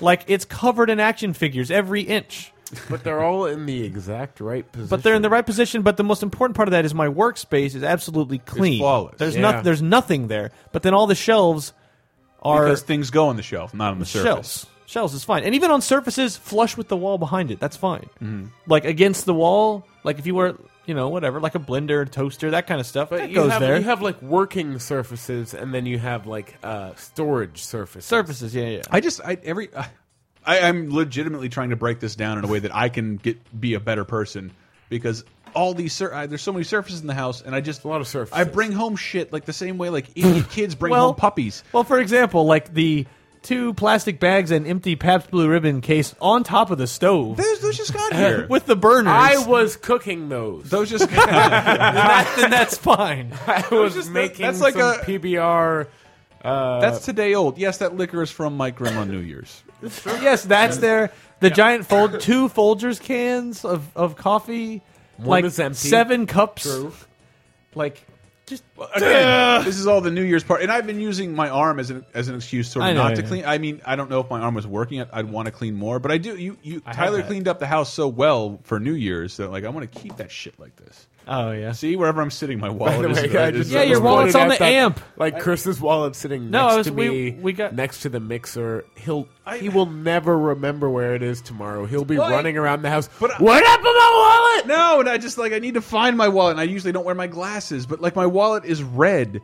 Like it's covered in action figures every inch.
but they're all in the exact right position.
But they're in the right position. But the most important part of that is my workspace is absolutely clean.
flawless.
There's
Yeah.
not there's nothing there. But then all the shelves are
because things go on the shelf, not on the surface.
shelves. Shelves is fine, and even on surfaces flush with the wall behind it, that's fine. Like against the wall, like if you were you know whatever, like a blender, toaster, that kind of stuff, that
you
goes
have,
there.
You have like working surfaces, and then you have like uh, storage surfaces.
surfaces, yeah, yeah.
I just I every uh, I, I'm legitimately trying to break this down in a way that I can get be a better person because all these sur I, there's so many surfaces in the house and I just a
lot of surfaces.
I bring home shit like the same way like
*laughs*
idiot kids bring
Well-
home puppies.
Well, for example, like the two plastic bags and empty Pabst Blue Ribbon case on top of the stove
Those, those just got here.
*laughs* with the burners.
I was cooking those.
those just got
*laughs* then, *laughs* that, then that's fine.
I was
just-
making
that's like
some
a-
PBR.
that's today old. Yes, that liquor is from my grandma New Year's.
yes, that's there. The giant fold, two Folgers cans of of coffee, like
is empty.
seven cups,
True.
like just
Again, this is all the New Year's part, and I've been using my arm as an as an excuse sort
I
of
know,
not to
yeah.
clean. I mean, I don't know if my arm was working. I'd, I'd want to clean more, but I do. You, you
have
Tyler
that.
cleaned up the house so well for New Year's that like I want to keep that shit like this.
oh yeah.
See wherever I'm sitting, my wallet is.
I
is-
just-
Yeah,
I
is-
your
just
wallet's
pointed
on
at
the
that,
amp.
Like Chris's wallet sitting
No,
next
it was-
to
we-
me,
we got-
next to the mixer. He'll he will never remember where it is tomorrow. He'll be
Well, I-
running around the house.
but I-
what happened to my wallet?
No, and I just like I need to find my wallet. And I usually don't wear my glasses, but like my wallet is red.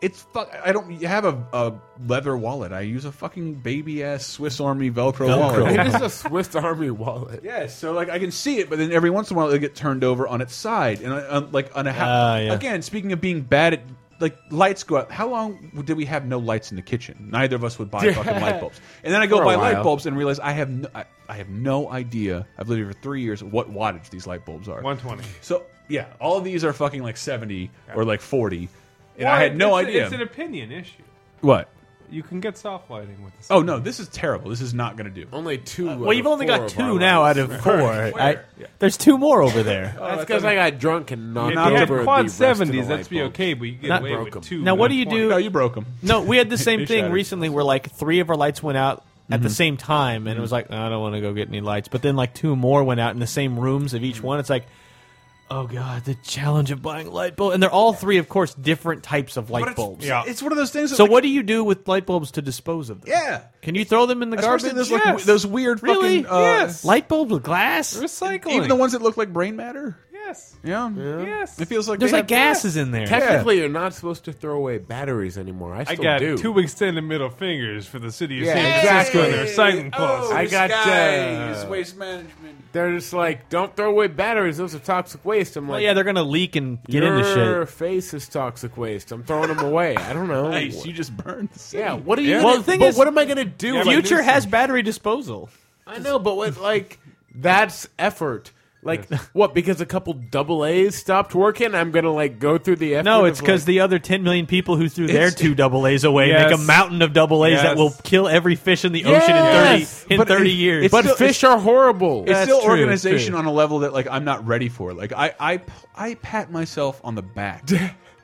It's fuck. I don't have a, a leather wallet. I use a fucking baby ass Swiss Army Velcro, wallet.
*laughs* It is a Swiss Army wallet.
Yes, so like I can see it, but then every once in a while it'll get turned over on its side, and uh, um, like on a ha-
Ah, yeah.
again. Speaking of being bad at like lights go out. How long did we have no lights in the kitchen? Neither of us would buy fucking light bulbs, and then I go
For a
buy light
while.
bulbs and realize I have no, I, I have no idea. I've lived here for three years. What wattage these light bulbs are?
120.
So yeah, all of these are fucking like seventy or like forty, and
Well,
I had no
it's a-
idea
it's an opinion issue.
what.
You can get soft lighting with this.
Oh no, this is terrible. This is not going to do.
Only two. out
Well,
of
you've only
four
got
of our
two now out
lights.
of four. I, there's two more
*laughs*
over there.
Oh, That's because I got drunk and knocked
If
over
you had
the
quad
rest of the
seventies,
light
that'd be
bulbs.
okay, but you get
Not
away
broke
with
'em.
two.
Now, what do you do?
No, you broke them.
No, we had the same thing
shattered.
recently where like three of our lights went out at the same time,
Mm-hmm.
and it was like I don't want to go get any lights. But then like two more went out in the same rooms of each one. It's like oh god, the challenge of buying light bulbs, and they're all three, of course, different types of
But
light
it's,
bulbs.
Yeah.
It's one of those things. That,
So
like,
what do you do with light bulbs to dispose of them?
Yeah.
Can you throw them in the
Especially
garbage?
those, like, w- those weird
Really?
fucking. Uh,
Yes.
Light bulbs with glass?
Recycling.
Even the ones that look like brain matter.
Yes.
Yeah.
Yes.
It feels like
There's
they
like
have-
gases in there.
Technically, you're not supposed to throw away batteries anymore. I
I
still
got
do.
two extended middle fingers for the city of
Yeah,
San
exactly.
Francisco and their recycling policy.
I got, uh,
waste management.
They're just like, don't throw away batteries. Those are toxic waste. I'm
Well,
like,
yeah, they're gonna leak and get
your
into shit.
face is toxic waste. I'm throwing them away. I don't *laughs* know.
Nice. You just burned. The city.
yeah. What are you?
Yeah.
Gonna,
Well, the thing
but
is-
what am I gonna do?
Yeah,
with
but-
Future
Nuisance.
has battery disposal.
I know, but what like that's effort. Like *laughs* what? Because a couple double A's stopped working, I'm gonna like go through the effort.
No,
of,
it's because
like-
the other 10 million people who threw their
It's-
two double A's away
Yes.
make a mountain of double A's
Yes.
that will kill every fish in the
Yes.
ocean in 30, in
But
30
it-
years.
it's
but
still-
fish are horrible.
It's
That's
still
true,
organization
true.
on a level that like I'm not ready for. Like I I I pat myself on the back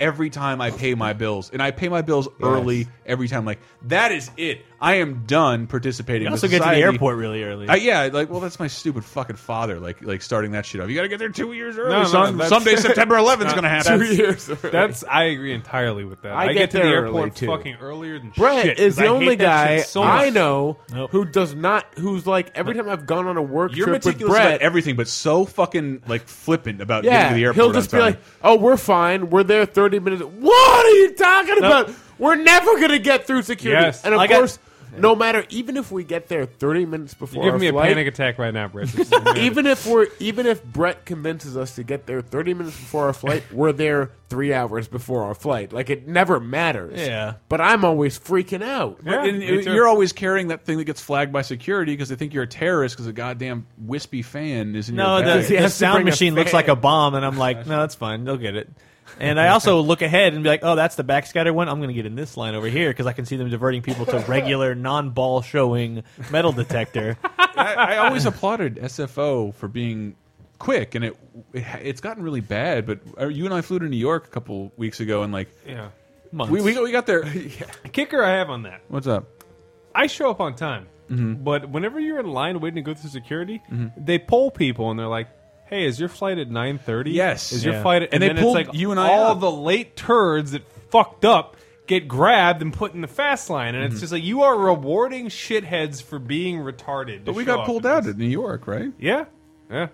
every time I pay my bills, and I pay my bills early every time. Like that is it. I am done participating.
you
with
also get to the
society.
airport really early.
I, yeah, like well, that's my stupid fucking father. Like like starting that shit up. You got to get there two years early.
No, no,
son.
that's-
Someday September 11th is gonna happen.
two years. early.
That's I agree entirely with that.
I
I,
get
get, to the
there early,
airport
too.
fucking earlier than
Brett
shit. 'cause
is the
I hate
only
that
guy
shit so much.
I know
Nope.
who does not. Who's like every time I've gone on a work
You're
trip with
meticulous about
Brett.
everything, but so fucking like flippant about getting
yeah,
to the airport.
he'll just
on
be
time.
like, "Oh, we're fine. We're there 30 minutes. What are you talking about? We're never gonna get through security."
Yes.
and of
I got-
course, no matter even if we get there 30 minutes before
You're giving
our
me a
flight,
panic attack right now, Brett.
*laughs*
This is-
even if we're even if Brett convinces us to get there 30 minutes before our flight, we're there 3 hours before our flight. Like it never matters.
Yeah.
But I'm always freaking out.
Yeah,
and
me
you-
too.
you're always carrying that thing that gets flagged by security because they think you're a terrorist because a goddamn wispy fan is in your
no, the,
bag.
He
the
has to
sound
bring a
machine looks
fan.
like a bomb, and I'm like, no, that's fine. They'll get it. And I also look ahead and be like, oh, that's the backscatter one. I'm going to get in this line over here because I can see them diverting people to regular, non ball showing
*laughs*
metal detector.
I, I always applauded SFO for being quick, and it, it it's gotten really bad. But uh, you and I flew to New York a couple weeks ago, and like
yeah.
Months.
we we, we got there.
The kicker I have on that.
What's up?
I show up on time,
Mm-hmm.
but whenever you're in line waiting to go through security, they poll people and they're like, "Hey, is your flight at 9:30?
Yes.
is
Yeah.
your flight?" At,
And
and,
they
then
pulled
it's like
you and I
all
up.
the late turds that fucked up get grabbed and put in the fast line, and
Mm-hmm.
it's just like you are rewarding shitheads for being retarded.
But we got pulled out at New York, right?
Yeah, yeah,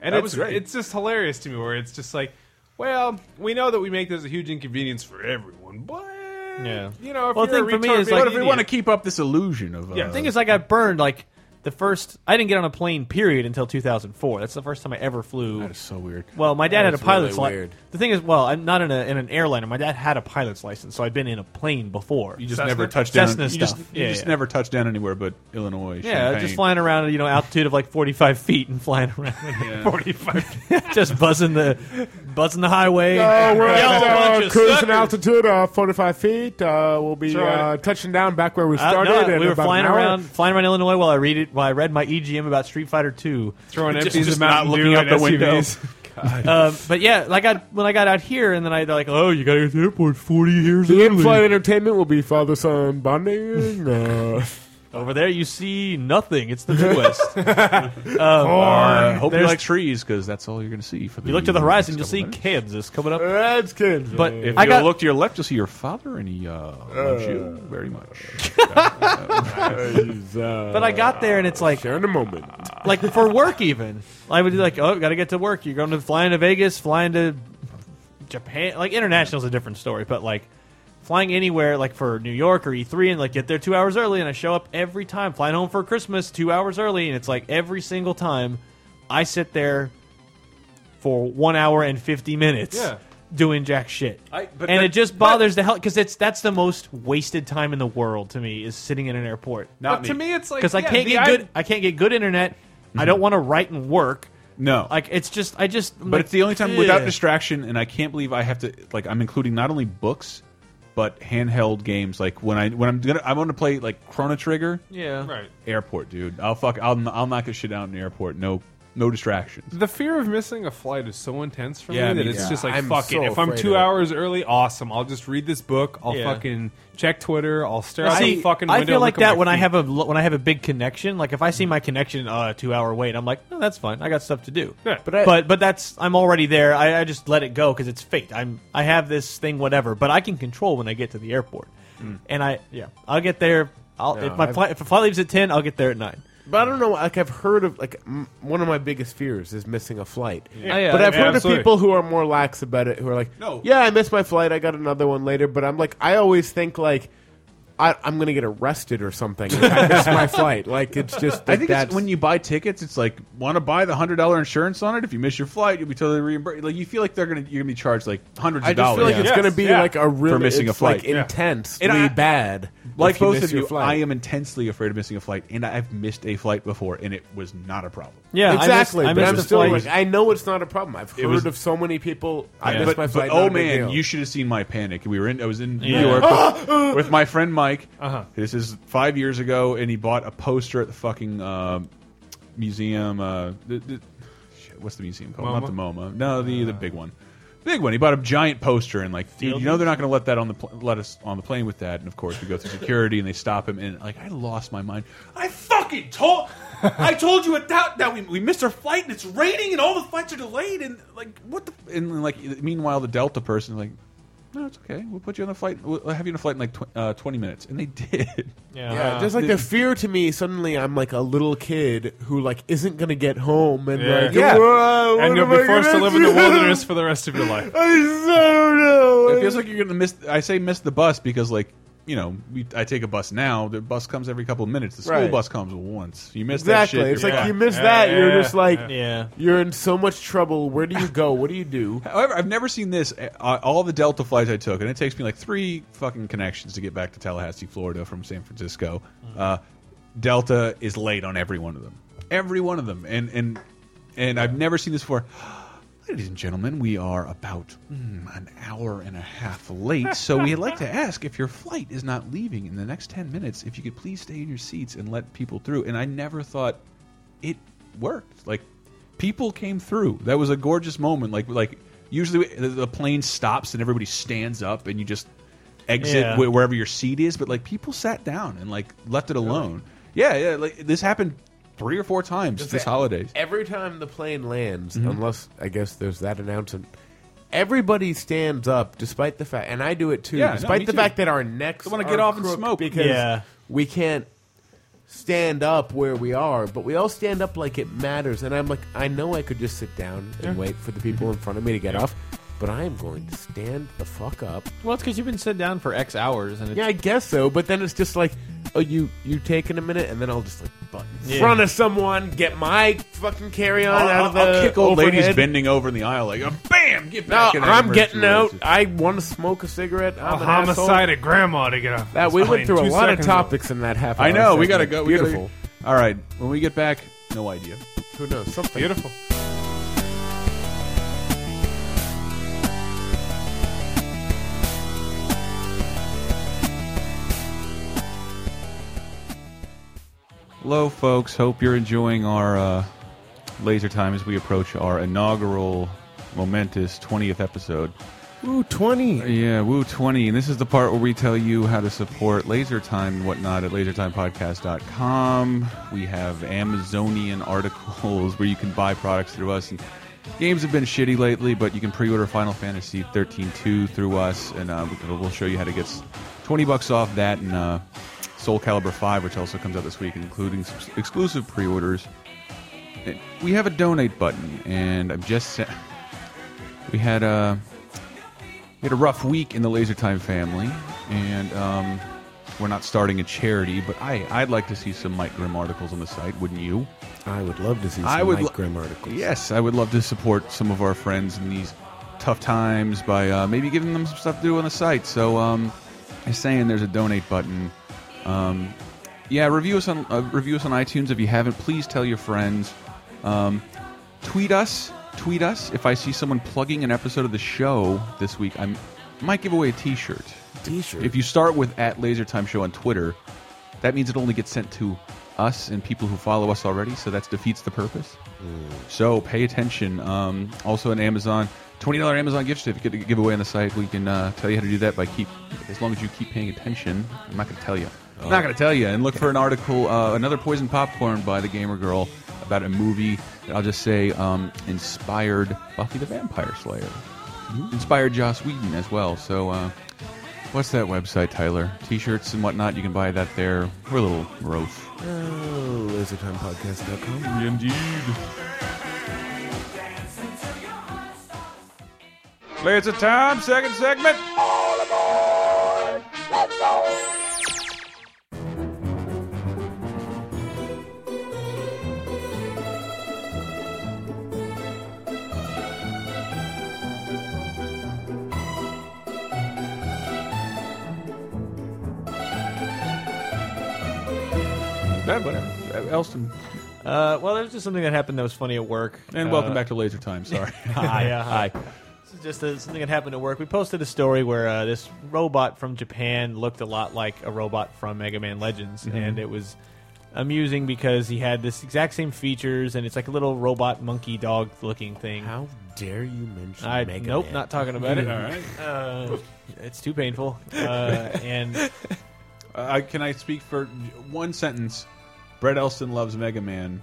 and
That
it's
was great.
it's just hilarious to me where it's just like, well, we know that we make this a huge inconvenience for everyone, but
Yeah.
you know, if
Well, the
you're a
thing for me
retard,
is,
be
like-
But
an
if we
idiot.
want to keep up this illusion of uh,
Yeah.
The thing is, I got burned like the first. I didn't get on a plane period until 2004. That's the first time I ever flew.
that is so weird.
Well, my dad had a
is
pilot's
really
license.
weird.
The thing is, well, I'm not in, a, in an airliner. My dad had a pilot's license, so I'd been in a plane before.
You just
Cessna?
never touch down.
Cessna
you just,
stuff.
you
Yeah,
just
yeah.
never touch down anywhere but Illinois.
yeah, just
Champaign.
flying around, you know, altitude of like 45 feet and flying around. 45. *laughs* just buzzing the buzzing the highway.
Oh, we're
Y'all
at
a
uh,
bunch of
cruising
suckers.
altitude, uh, 45 feet. Uh, we'll be
Sorry.
uh, touching down back where we
Uh,
started.
no,
in
we were
about an
flying
hour.
around, flying around Illinois while I read it. While I read my EGM about Street Fighter Two.
throwing
Just-
empties
just
of Mountain
not
Dew
looking
at
out the window.
SUVs.
Um, but yeah, like I when I got out here, and then I they're like, oh, you got to go to the airport 40 years
The
early.
in-flight entertainment will be father-son bonding. Uh,
Over there, you see nothing. It's the Midwest. Um,
Uh, hope you
There's-
like trees because that's all you're going to see. For the
you look to the horizon, you'll
next
see
couple minutes.
Kansas coming
*laughs*
up.
that's good.
But
If
I
you
got Uh,
look to your left, you'll see your father, and he uh, loves you very much.
But I got there and it's like,
Share in a uh, moment.
like for work even. I would be like, oh, gotta get to work. You're going to flying to Vegas, flying to Japan. Like international's a different story, but like flying anywhere, like for New York or E3, and like get there two hours early, and I show up every time. Flying home for Christmas two hours early, and it's like every single time I sit there for one hour and fifty minutes.
Yeah.
Doing jack shit,
I- but
and
that-
it just
but-
bothers the hell because it's that's the most wasted time in the world to me is sitting in an airport
*laughs* Not
But to me, it's like
because I
yeah,
can't
the
get
i-
good. I can't get good internet. I don't want to write and work.
No.
like it's just I just.
but it's the only time without distraction, and I can't believe I have to like I'm including not only books, but handheld games. Like when I when I'm gonna I want to play like Chrono Trigger,
Yeah,
Right.
airport, dude. I'll fuck I'll I'll knock this shit out in the airport. No no distractions.
The fear of missing a flight is so intense for
Yeah,
me that
me
it's
too.
just like
I'm
fuck
so
it. If I'm
afraid
two
of it.
hours early, awesome. I'll just read this book. I'll
Yeah.
fucking check Twitter. I'll stare
Well,
out
see,
the fucking window.
I feel
and
like
look at
that
my
when I
feet.
have a lo- when I have a big connection. Like if I see my connection, uh, two hour wait, I'm like, no, that's fine. I got stuff to do.
Yeah.
But
But
I-
but but that's I'm already there. I, I just let it go because it's fate. I'm I have this thing, whatever. But I can control when I get to the airport,
Mm.
and I yeah, I'll get there. I'll,
No,
if my
I've-
flight if a flight leaves at ten, I'll get there at nine.
But I don't know. Like I've heard of like m- one of my biggest fears is missing a flight.
Yeah. Yeah,
but I've
yeah,
heard of
absolutely.
people who are more lax about it who are like,
No.
yeah, I missed my flight. I got another one later." But I'm like, I always think like. I, I'm gonna get arrested or something. If I miss my flight. Like it's just.
I think it's
that's,
when you buy tickets, it's like want to buy the hundred dollar insurance on it. If you miss your flight, you'll be totally reimbursed. Like you feel like they're gonna you're gonna be charged like hundreds
I
of
just
dollars.
feel like
Yeah.
it's gonna be
Yeah.
like a really
missing a
it's,
flight.
like
Yeah.
intensely
And I-
bad.
like
if you
both
miss
of
your
you,
flight.
I am intensely afraid of missing a flight, and I've missed a flight before, and it was not a problem.
Yeah,
exactly.
I
but
missed, I
I'm
missed the
still
flight.
like, I know it's not a problem. I've heard
was-
of so many people. I
Yeah.
missed
but,
my
but,
flight.
oh
not a big
man,
deal.
you should have seen my panic. We were in. I was in
Yeah.
New
*laughs*
York with, with my friend Mike.
Uh-huh.
This is five years ago, and he bought a poster at the fucking uh, museum. Uh, the, the, shit, what's the museum called? Not the MoMA. No, the the big one. Big one. He bought a giant poster and like, dude, you know they're not going to let that on the pl let us on the plane with that. And of course, we go through security and they stop him. And like, I lost my mind. I fucking told, I told you a doubt that we, we missed our flight and it's raining and all the flights are delayed and like what the and like meanwhile the Delta person like, no, it's okay. We'll put you on the flight. We'll have you on the flight in like tw uh, twenty minutes. And they *laughs* did.
yeah.
Yeah, there's like the fear to me. Suddenly, I'm like a little kid who like isn't gonna get home, and
Yeah.
like,
Yeah.
"Whoa, what
and you'll
am
be
I
forced to
gonna
live in the
do?" *laughs*
wilderness for the rest of
*laughs*
your life.
I don't know.
It feels like you're gonna miss. I say miss the bus because like you know we, I take a bus now. The bus comes every couple of minutes. The school
Right.
bus comes once. You miss
exactly.
that shit.
It's
you're
like
fucked.
you miss
Yeah,
that.
yeah,
you're
yeah,
just like,
Yeah.
you're in so much trouble. Where do you go? What do you do?
However, I've never seen this. Uh, all the Delta flights I took, and it takes me like three fucking connections to get back to Tallahassee, Florida from San Francisco. Uh, Delta is late on every one of them. Every one of them, and and and I've never seen this before. *gasps* Ladies and gentlemen, we are about mm, an hour and a half late, so we'd like to ask if your flight is not leaving in the next 10 minutes, if you could please stay in your seats and let people through. And I never thought it worked. Like, people came through. That was a gorgeous moment. Like, like usually the- the plane stops and everybody stands up and you just exit
Yeah.
wh- wherever your seat is, but like people sat down and like left it alone. Yeah, yeah. Like, this happened three or four times this Mm-hmm.
that-
holiday.
Every time the plane lands, unless I guess there's that announcement, everybody stands up, despite the fact, and I do it too,
Yeah, no,
despite
me
the
too.
fact that our necks
They wanna
want to
get off and smoke.
because
Yeah.
we can't stand up where we are, but we all stand up like it matters. And I'm like, I know I could just sit down and wait for the people
Mm-hmm.
in front of me to get off. But I am going to stand the fuck up.
Well, it's because you've been sitting down for X hours, and it's,
Yeah, I guess so. But then it's just like, oh, you you taking a minute, and then I'll just like butt in
Yeah.
front of someone, get my fucking carry on
I'll,
out of the
I'll kick old ladies
overhead.
bending over in the aisle like, "Oh, bam, get
No,
back. in there."
I'm getting out.
Versus-
I want to smoke a cigarette. I'm
A
an
homicide at grandma to get off.
Asshole. That we
this
went
plane
through a
two
lot of
seconds
topics in that half. Hour
I know. We gotta
segment.
go. We gotta-
Beautiful.
all right. When we get back, no idea.
Who knows? Something.
ago. Beautiful.
Hello, folks. Hope you're enjoying our uh, laser time as we approach our inaugural momentous 20th episode.
Ooh, twenty.
Yeah, Woo 20. And this is the part where we tell you how to support Laser Time and whatnot at lasertimepodcast.com. We have Amazonian articles *laughs* where you can buy products through us. And games have been shitty lately, but you can pre order Final Fantasy 13 2 through us. And uh, we- we'll show you how to get s- 20 bucks off that and uh, Soul Calibur 5, which also comes out this week, including s- exclusive pre orders. And We have a donate button, and I'm just. sa- *laughs* We had a. Uh, we had a rough week in the Laser Time family, and um, we're not starting a charity, but I, I'd like to see some Mike Grimm articles on the site, wouldn't you?
I would love to see some
I would
Mike
lo-
Grimm articles.
Yes, I would love to support some of our friends in these tough times by uh, maybe giving them some stuff to do on the site. So um, I'm saying there's a donate button. Um, yeah, review us on uh, review us on iTunes if you haven't. Please tell your friends. Um, tweet us, tweet us. If I see someone plugging an episode of the show this week, I might give away a T-shirt.
T-shirt.
If you start with at Laser Time Show on Twitter, that means it only gets sent to us and people who follow us already, so that defeats the purpose. So pay attention. Um, also, an Amazon twenty dollar Amazon gift certificate to give away on the site. We can uh, tell you how to do that by keep as long as you keep paying attention. I'm not going to tell you. I'm not going to tell you. And look for an article, uh, another Poison Popcorn by the Gamer Girl about a movie. that I'll just say um, inspired Buffy the Vampire Slayer, inspired Joss Whedon as well. So. Uh, What's that website, Tyler? T-shirts and whatnot. You can buy that there. We're a little gross.
Oh, lasertimepodcast.com.
Indeed. Laser time, second segment. Yeah, whatever. Elston.
Uh, well, there's just something that happened that was funny at work.
And
Uh,
welcome back to Laser Time.
*laughs*
Sorry.
Hi, uh, hi. This is just uh something that happened at work. We posted a story where uh, this robot from Japan looked a lot like a robot from Mega Man Legends, and it was amusing because he had this exact same features, and it's like a little robot monkey dog looking thing.
How dare you mention
I,
Mega
nope,
Man?
not talking
*laughs*
about it. All right, uh, it's too painful. Uh, and
Uh, can I speak for one sentence? Brett Elston loves Mega Man.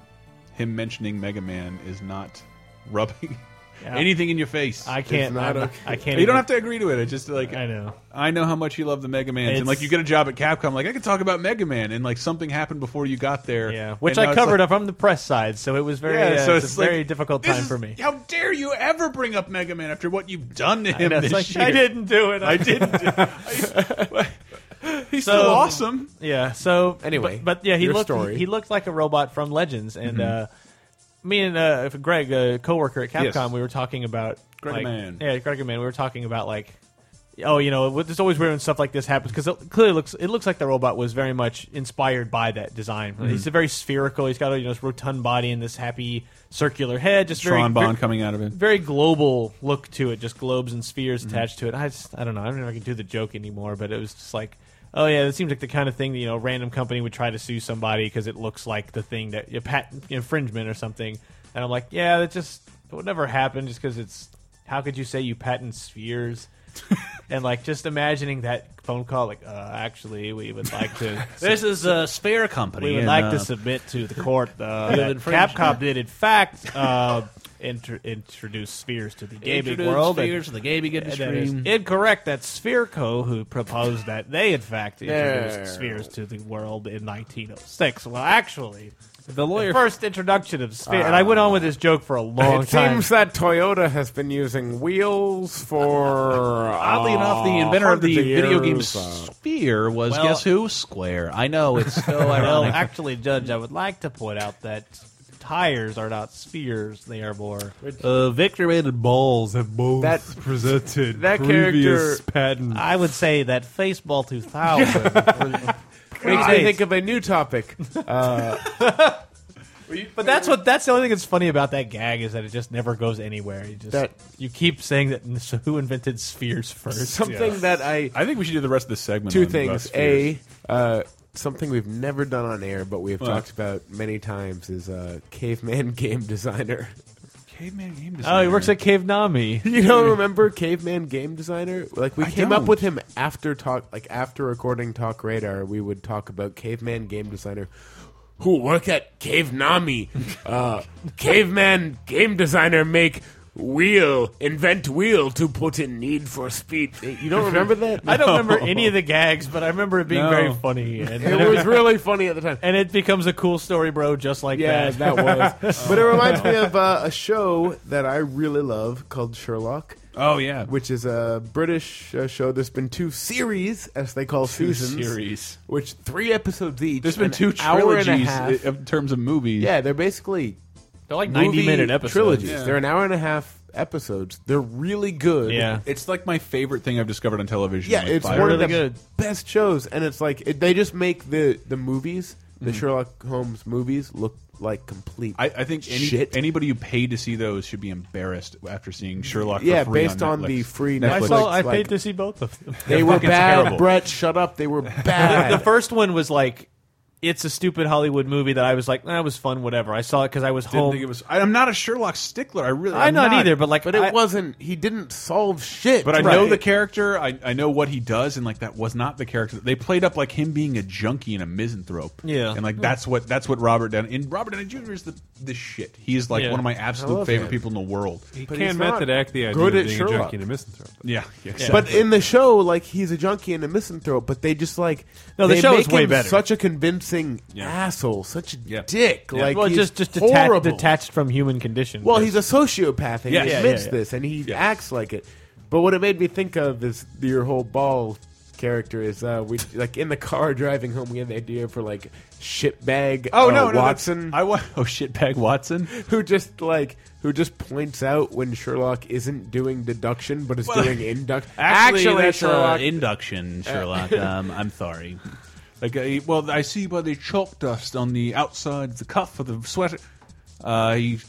Him mentioning Mega Man is not rubbing
Yeah.
anything in your face.
I can't.
not
I'm-
okay.
I can't.
you don't
even-
have to agree to it. It's just like
I know.
I know how much you love the Mega Man, and
It's-
like you get a job at Capcom, like I could talk about Mega Man, and like something happened before you got there.
Yeah, which
and now
I
it's
covered
like-
up from the press side, so it was very.
Yeah,
uh,
so
it's,
it's
a
like,
very difficult
this
time
is-
for me.
How dare you ever bring up Mega Man after what you've done to
I
him
know,
this
it's like,
year?
I didn't do it.
I didn't. He's
So-
still awesome.
Yeah. So
Anyway,
but, but yeah, he
your
looked
story. Mm-hmm.
He, looked like a robot from Legends, and uh, me and uh, Greg, a coworker at Capcom,
Yes.
we were talking about
Greg
like,
Man.
Yeah, Greg Man. We were talking about like. Oh, you know, what- it's always weird when stuff like this happens because it clearly looks it looks like the robot was very much inspired by that design.
Mm-hmm.
He's a very spherical. He's got a you know this rotund body and this happy circular head. Just very,
Tron
very-
Bond coming out of it.
very global look to it, just globes and spheres attached to it. I just, I don't know. I don't know if I can do the joke anymore, but it was just like, oh yeah, that seems like the kind of thing that you know, a random company would try to sue somebody because it looks like the thing that a patent infringement or something. And I'm like, yeah, that just it would never happen just because it's. How could you say you patent spheres? and like just imagining that phone call, like uh, actually, we would like to.
This is a sphere company.
We would
and,
like
uh,
to submit to the court uh, that
infringed.
Capcom did, in fact, uh, inter- introduce spheres to the gaming
introduce
world. and-
spheres to the gaming
and that
industry.
is incorrect. That's Sphereco who proposed that they, in fact, introduced spheres to the world in 1906. Well, actually,
The lawyer.
the first introduction of sphere, and I went on with this joke for a long
It
time.
seems that Toyota has been using wheels for uh,
Oddly enough, the inventor of the
hundreds of
video game
years, uh,
Sphere was
Well-
guess who? Square. I know it's
*laughs*
so
well,
ironic.
actually, Judge, I would like to point out that tires are not spheres; they are more.
Uh, Victor and
balls have both
That-
presented
that
previous
character-
*laughs*
patents.
I would say that
*laughs*
Faceball 2000.
Makes me
Right.
think of a new *laughs* topic.
but that's what that's the only thing that's funny about that gag is that it just never goes anywhere. You just
That-
you keep saying that so who invented spheres first?
Something that I
I think we should do the rest of the segment.
two
on Bus
things.
Fears.
A uh, something we've never done on air, but we have
Well.
talked about many times is uh, caveman *laughs* game designer.
caveman game
*laughs* Oh,
designer.
he works at Cave Nami.
*laughs* You don't remember caveman game designer? Like we
I
came
don't.
up with him after talk, like after recording Talk Radar, we would talk about caveman game designer. Who work at Cave Nami? Uh, caveman game designer make wheel invent wheel to put in Need for Speed. You don't remember that?
I don't remember any of the gags, but I remember it being
No.
very funny. And,
It was really funny at the time.
*laughs* and it becomes a cool story, bro, just like
Yeah,
that.
that was. but it reminds me of uh, a show that I really love called Sherlock,
Oh yeah,
which is a British uh, show. There's been two series, as they call
two
seasons,
series.
which three episodes each.
There's been
an
two
hour and a
trilogies
half.
i- in terms of movies.
yeah, they're basically
They're *laughs* like
movie
90 minute episodes.
trilogies.
Yeah.
They're an hour and a half episodes. They're really good.
Yeah.
It's like my favorite thing I've discovered on television.
Yeah,
like
it's
five-
one
really
of the
good.
best shows, and it's like it, they just make the the movies, the Sherlock Holmes movies, look like complete.
I, I think any,
Shit.
anybody who paid to see those should be embarrassed after seeing Sherlock. for
Yeah,
free
based on the
Netflix.
free
I
Netflix.
saw. I
like-
paid to see both of them.
They were
fucking
bad,
terrible.
Brett. Shut up. They were
the
bad.
first one was like it's a stupid Hollywood movie that I was like, that was fun, whatever. I saw it because I was
Didn't
home.
think it was. I, am not a Sherlock stickler. I really.
I'm not, either, but like,
But it
I-
wasn't. He didn't solve shit.
But I
Right.
know the character. I, I know what he does, and like that was not the character. They played up like him being a junkie and a misanthrope.
Yeah.
and like that's what that's what Robert Downey and Robert Downey Jr. is the the shit. He is like
Yeah.
one of my
I
absolute
love
favorite
him.
people in the world.
He
But he's
can
not
method act the idea
good
of
at
being a
Sherlock.
junkie and a misanthrope.
Yeah, yeah,
But
exactly.
in the show, like he's a junkie and a misanthrope, but they just like
No, the
they
show
make
is way
him
better.
Such a convincing
Yeah.
asshole, such a
Yeah.
dick.
Yeah.
Like
well,
he's
just just deta-
horrible.
detached from human condition.
Well, he's a sociopath, and
Yeah,
he
yeah,
admits
yeah, yeah.
this, and he
Yeah.
acts like it. But what it made me think of is your whole ball character is uh, we like in the car *laughs* driving home. We had the idea for like shitbag.
oh
uh,
no, no, that's-
Watson,
I want *laughs* oh shitbag Watson.
who just like who just points out when Sherlock isn't doing deduction but is
Well,
doing
*laughs*
induction.
that's uh,
Sherlock.
induction,
*laughs*
Sherlock. um, I'm sorry.
Like, uh, well, I see by the chalk dust on the outside, the cuff of the sweater. Uh, he,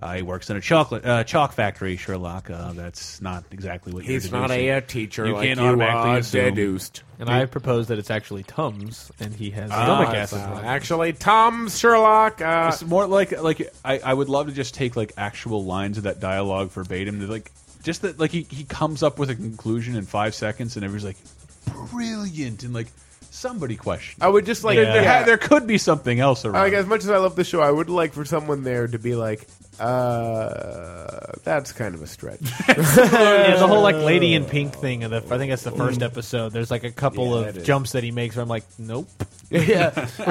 uh, he works in a chocolate uh, chalk factory, Sherlock. Uh, that's not exactly what
He's
you're
not a
deducing.
air teacher
You
like
can't
you
automatically
are
assume.
deduced.
and I propose that it's actually Tums, and he has stomach acid.
Uh, actually, Tom Sherlock. Uh,
It's more like like I, I would love to just take like actual lines of that dialogue verbatim. They're like just that like he, he comes up with a conclusion in five seconds, and everybody's like brilliant, and like somebody questioned.
I would just like.
There,
Oh, yeah.
ha- there could be something else around.
Like as much as I love the show, I would like for someone there to be like, uh, "That's kind of a stretch."
*laughs* yeah, the whole like Lady in Pink thing. Of the, I think that's the first episode. There's like a couple
Yeah,
of
that is.
jumps that he makes where I'm like, nope. *laughs*
yeah,
It's like,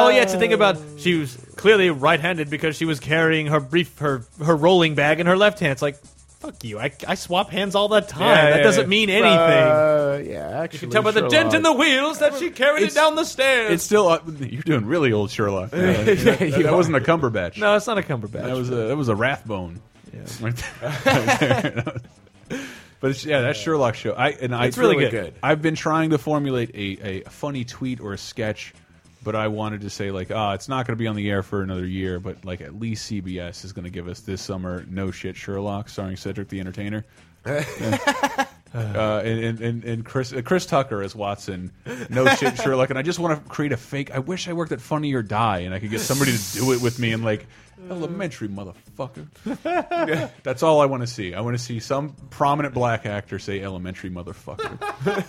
oh yeah, it's a thing about she was clearly right-handed because she was carrying her brief, her her rolling bag in her left hand. It's like, fuck you. I, I swap hands all the time.
Yeah,
that
yeah,
doesn't
yeah.
mean *laughs* anything.
Uh, yeah, actually,
you can tell by the dent in the wheels that she carried it
It's-
down the stairs.
it's still uh, you're doing really old Sherlock. Uh, that, that wasn't a Cumberbatch.
no, it's not a Cumberbatch.
That was a that was a Rathbone. but it's, yeah, that Sherlock show. I and I,
It's really Really good. good.
I've been trying to formulate a, a funny tweet or a sketch, but I wanted to say like, ah, it's not going to be on the air for another year, but like at least CBS is going to give us this summer no shit Sherlock starring Cedric the
*laughs*
Entertainer. Uh, and- and and, and Chris uh, Chris Tucker as Watson, no shit Sherlock, and I just want to create a fake. I wish I worked at Funny or Die, and I could get somebody to do it with me and like elementary motherfucker. That's all I want to see. I want to see some prominent black actor say elementary motherfucker.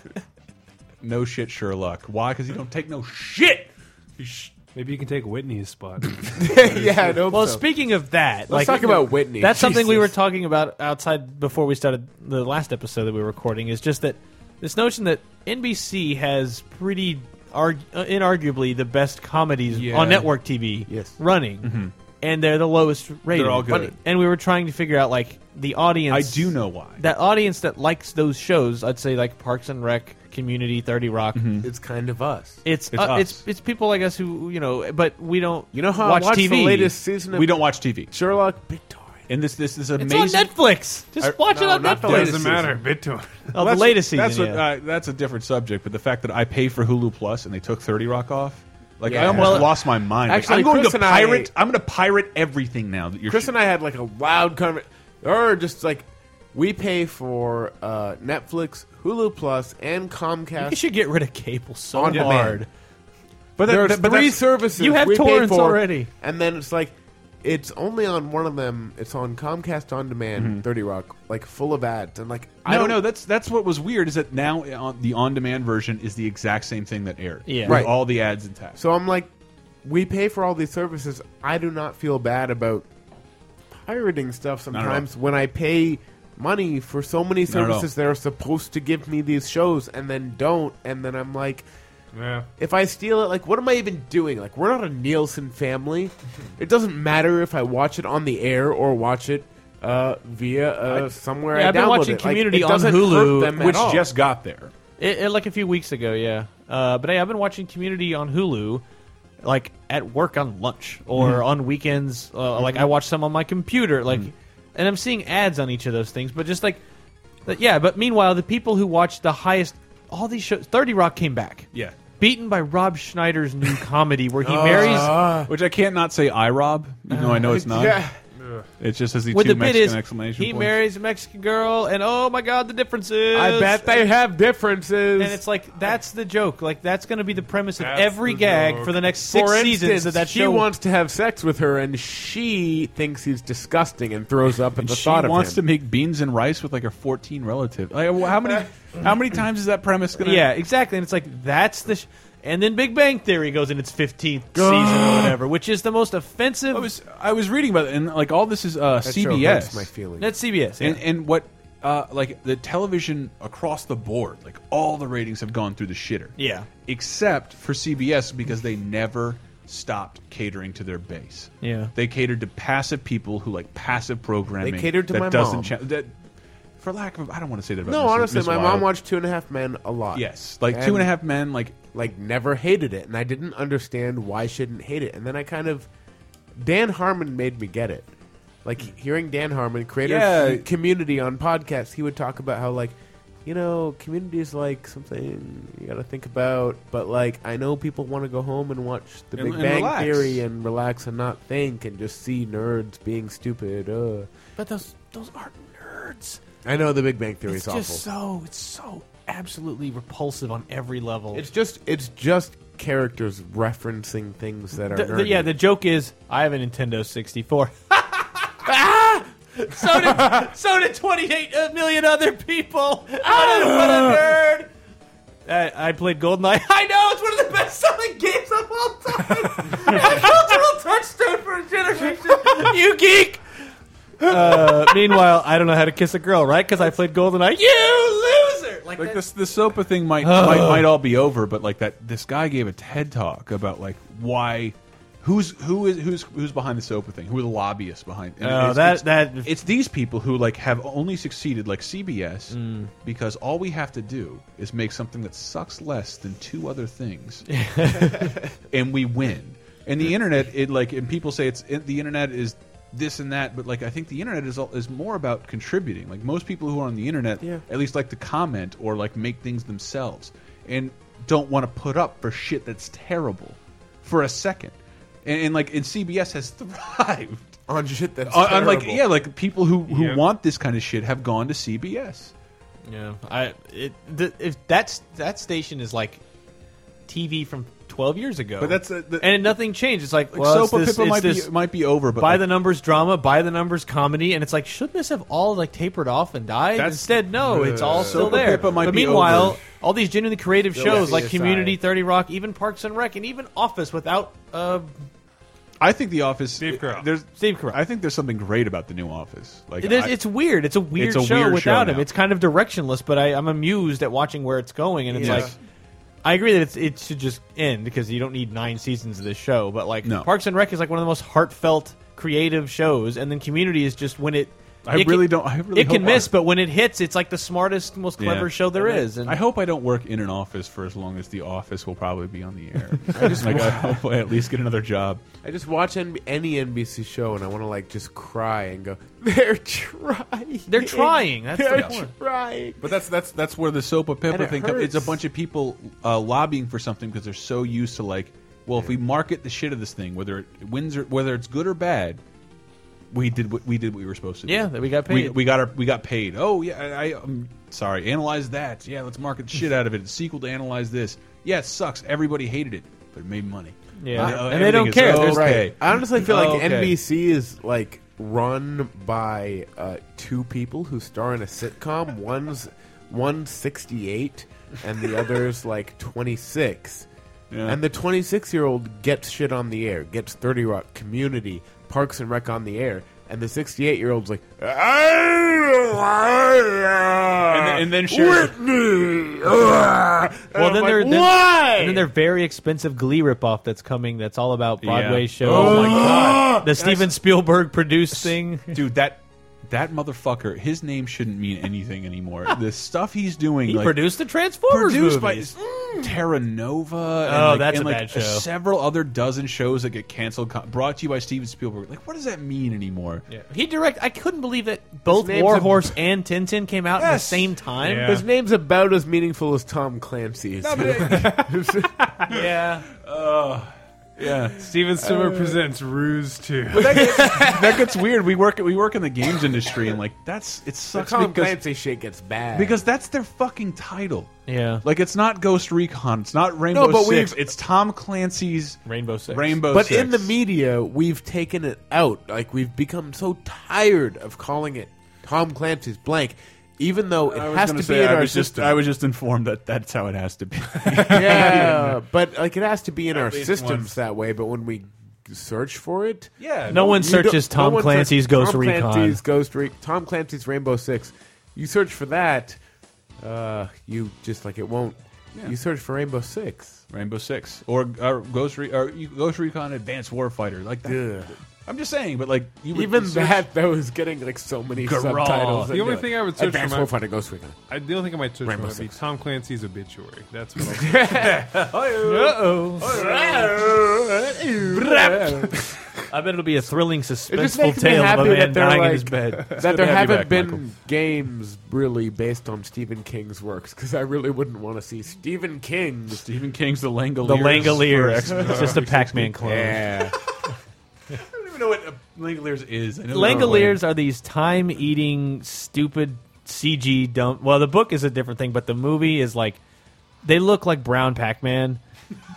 *laughs*
no shit Sherlock. Why? Because he don't take no shit. He sh
Maybe you can take Whitney's *laughs* spot.
*laughs*
yeah, no.
Well, speaking of that,
Let's talk about Whitney.
*laughs* That's something we
Jesus.
were talking about outside before we started the last episode that we were recording. Is just that this notion that NBC has pretty arg- uh, inarguably the best comedies
Yeah. Mm-hmm.
on network TV
Yes.
running, and they're the lowest rated.
all good.
But- And we were trying to figure out like the audience.
I do know why.
that audience that likes those shows. I'd say like Parks and Rec, Community, Thirty Rock.
Mm-hmm.
it's kind of us.
It's
It's
uh,
us.
it's it's people like us who you know, but we don't.
You know how
watch
I watched
TV.
the latest season of
we don't watch TV.
Sherlock Victoria.
And this this is
It's
amazing.
on Netflix. Just watch it
no,
on
not the
Netflix.
latest
Doesn't matter. Bit to it. *laughs*
Oh,
Well,
the latest season.
That's what,
yeah.
uh, that's a different subject, but the fact that I pay for Hulu Plus and they took Thirty Rock off, like I
Yeah.
almost
Well,
lost my mind. Like,
actually,
I'm going
Chris
to
and I-
pirate. I, am going to pirate everything now. That you're
Chris and I had like a loud conversation, or just like we pay for uh, Netflix, Hulu Plus, and
you
Comcast
should get rid of cable
uh,
so
on
hard.
demand.
but that-
There's
that- but
three
that's-
services
You have
we pay
torrents
for,
already.
and then it's like it's only on one of them. It's on Comcast on demand, Thirty Rock, like full of ads, and like I
no,
don't
no, that's that's what was weird is that now uh, on, the on-demand version is the exact same thing that aired.
Yeah.
with
Right.
all the ads intact.
So I'm like, we pay for all these services. I do not feel bad about pirating stuff
at all.
sometimes when I pay money for so many
at all.
services that are supposed to give me these shows and then don't. And then I'm like,
Yeah.
if I steal it, like, what am I even doing? Like, we're not a Nielsen
*laughs*
family. It doesn't matter if I watch it on the air or watch it. Uh, via uh, somewhere
Yeah,
I
I've been
download
watching
it. Like,
Community
it
on
doesn't
Hulu,
hurt them at
which
all.
just got there.
It, it- like a few weeks ago, yeah. Uh, but hey, I've been watching Community on Hulu, like at work on lunch or
Mm-hmm.
on weekends. Uh, Like I watch some on my computer, like, and I'm seeing ads on each of those things. But just like, but yeah. But meanwhile, the people who watch the highest, all these shows, Thirty Rock came back.
Yeah.
Beaten by Rob
Oh.
Schneider's new comedy where he marries
Which I can't not say I Rob, even though I know it's not.
Ah. yeah.
It just has the
What
two
the bit
Mexican
is,
exclamation
he
points.
marries a Mexican girl, and oh my god, the differences.
I bet they have differences.
And it's like that's the joke. Like that's going to be the premise of
That's
every
the
gag
joke.
for the next six
For
seasons
instance,
of that
she
show.
wants to have sex with her, and she thinks he's disgusting and throws up at the
she
thought of
wants to
him.
make beans and rice with like a 14 relative. Like, well, how many how many times is that premise going to
yeah, exactly. And it's like that's the. Sh- and then Big Bang Theory goes in its fifteenth season or whatever, which is the most offensive.
I was I was reading about it and like all this is uh
That show hurts
CBS.
my feelings.
that's CBS. yeah.
And and what uh like the television across the board, like all the ratings have gone through the shitter.
Yeah.
Except for CBS because they never stopped catering to their base.
Yeah.
They catered to passive people who like passive programming.
They catered to
that
my
doesn't
mom.
cha- that for lack of I don't want to say that about
no,
Miss-
honestly,
Miss
my
Wilde.
mom watched Two and a Half Men a lot.
Yes. Like two and a half men like
like never hated it, and I didn't understand why I shouldn't hate it. And then I kind of Dan Harmon made me get it. Like hearing Dan Harmon, creator
Yeah.
of Community on podcasts, he would talk about how like you know Community is like something you got to think about, but like I know people want to go home and watch The
And-
Big
and
Bang
relax.
Theory and relax and not think and just see nerds being stupid. Uh.
but those those aren't nerds.
I know The Big Bang Theory
It's
is awful.
just so it's so absolutely repulsive on every level.
it's just it's just characters referencing things that are
The- the- yeah,
nerdy.
the joke is I have a Nintendo 64. Ah! *laughs* so did so did 28 million other people. *laughs* What a, what a nerd! I, I played GoldenEye. *laughs* I know it's one of the best-selling games of all time. *laughs* a cultural touchstone for a generation. You geek. Uh, meanwhile, I don't know how to kiss a girl, right? Because I played GoldenEye. You loser! Like,
Like
that-
this, the SOPA thing might, might might all be over, but like that, this guy gave a TED talk about like why, who's who is who's who's behind the SOPA thing? Who are the lobbyists behind? And
Oh, that-
it's,
that-
it's these people who like have only succeeded like CBS
Mm.
because all we have to do is make something that sucks less than two other things, and we win. And the internet, it like, and people say it's it, the internet is this and that, but like I think the internet is all, is more about contributing. Like most people who are on the internet,
Yeah.
at least like to comment or like make things themselves, and don't want to put up for shit that's terrible for a second. And, and like, and CBS has *laughs* thrived.
on shit that's
On, on, like
terrible.
yeah, like people who who
Yeah.
want this kind of shit have gone to CBS.
Yeah, I it th- if that's that station is like TV from twelve years ago,
But that's, uh, the-
and nothing changed. It's like,
Like
well, it's
Sopa
this,
Pippa
it's
might
this
be might be over, but
by
like,
the numbers drama, by the numbers comedy, and it's like shouldn't this have all like tapered off and died?
That's-
Instead, no, it's all
Sopa
still there.
Pippa might
but
be
meanwhile,
over.
all these genuinely creative shows like
CSI.
Community, Thirty Rock, even Parks and Rec, and even Office without uh,
I think the Office.
Steve Carell.
There's
Steve Carell.
I think there's something great about the new Office. Like
It is,
I-
it's weird. It's a weird
a
show
weird show
without him.
now.
It's kind of directionless, but I, I'm amused at watching where it's going. And it's
Yeah.
like, I agree that it's, it should just end because you don't need nine seasons of this show. But like,
No.
Parks and Rec is like one of the most heartfelt, creative shows, and then Community is just when it.
I
it
really
can,
don't- I really
it can
hope I-
miss, but when it hits, it's like the smartest, most
yeah.
clever show there
And I-
is. And
I hope I don't work in an office for as long as the Office will probably be on the
*laughs*
air. I just like I hope I at least get another job.
I just watch N- any NBC show and I want to like just cry and go, they're trying.
They're trying. That's
they're
the point.
trying.
But that's that's that's where the Sopa Pippa
it
thing comes. It's a
hurts.
bunch of people uh, lobbying for something because they're so used to like, well, if we market the shit of this thing, whether it wins or whether it's good or bad, we did what we did what we were supposed to.
Yeah,
do.
that we got
We,
paid.
we got our we got paid. Oh yeah, I, I, I'm sorry. Analyze that. Yeah, let's market the
*laughs*
shit out of it. It's a sequel to analyze this. Yeah, it sucks. Everybody hated it, but it made money.
Yeah.
uh,
And they don't
everything is
care.
Okay.
There's-
Oh, I honestly feel like
Okay.
NBC is like run by uh, two people who star in a sitcom. One's one sixty eight, and the
*laughs*
other's like twenty six.
Yeah.
And the twenty six year old gets shit on the air, gets Thirty Rock, Community, Parks and Rec on the air, and the sixty eight year old's like, "Ah, and
then- and then shares-
ah, Whitney. ah." Well,
Well, then they're then,
why?
and then their very expensive Glee ripoff that's coming. That's all about Broadway
Yeah.
shows.
Oh my god,
the Steven Spielberg
*laughs*
produced thing.
dude! That that motherfucker. His name shouldn't mean anything anymore. the stuff he's doing.
He
like,
produced the Transformers
produced
movies.
by Terra Nova. And
Oh,
like,
that's
and
a
like
bad show.
Several other dozen shows that get canceled. co- Brought to you by Steven Spielberg. Like, what does that mean anymore?
He direct. I couldn't believe that both
name's
Warhorse and Tintin came out at the
Yes.
same time.
Yeah.
His name's about as *laughs* meaningful as Tom Clancy's.
No, but it-
Yeah.
Ugh. Yeah.
Steven Summer presents Ruse *laughs* 2.
that gets weird. We work we work in the games industry, and like that's it
The
sucks
Tom
because,
Clancy shit gets bad
because that's their fucking title.
Yeah.
Like it's not Ghost Recon, it's not Rainbow
but we've-
Six, it's Tom Clancy's
Rainbow Six.
Rainbow
But
Six.
in the media, we've taken it out. Like we've become so tired of calling it Tom Clancy's blank, even though it
I was
has
gonna
to
say,
be in
I
our
was just uh,
system.
I was just informed that that's how it has to be.
yeah, but like it has to be in our
least
systems
once.
that way. But when we search for it,
yeah.
No one
you
searches
don't- no
Tom
one
Clancy's
searches
Ghost
Tom
Recon.
Clancy's Ghost Re- Tom Clancy's Rainbow Six. You search for that, uh, you just like it won't. You search for Rainbow Six.
Rainbow Six or, or Ghost Re or Ghost Recon Advanced Warfighter like that.
Ugh.
I'm just saying, but like you would
Even
search-
that, that was getting like so many
Garage.
subtitles.
The
I'd be
only
like,
thing I would search for
Advanced
my-
Warfighter Ghost Recon.
I do think I might search
Rainbow
might be
Six.
Tom Clancy's obituary. That's *laughs* what I'll
I bet it'll be a thrilling,
just
suspenseful
makes me
tale of a
happy
man
that they're
dying in
like-
his bed.
*laughs* that there
to have you
haven't
back,
been
Michael.
games really based on Stephen King's works because I really wouldn't want to see Stephen King's.
Stephen King's The Langoliers.
The
for *laughs*
Langoliers.
X-Men.
It's just a Pac-Man clone.
Yeah,
I don't even know what uh, Langoliers is. I know
Langoliers are these time-eating, stupid CG dump. Well, the book is a different thing, but the movie is like they look like brown Pac-Man,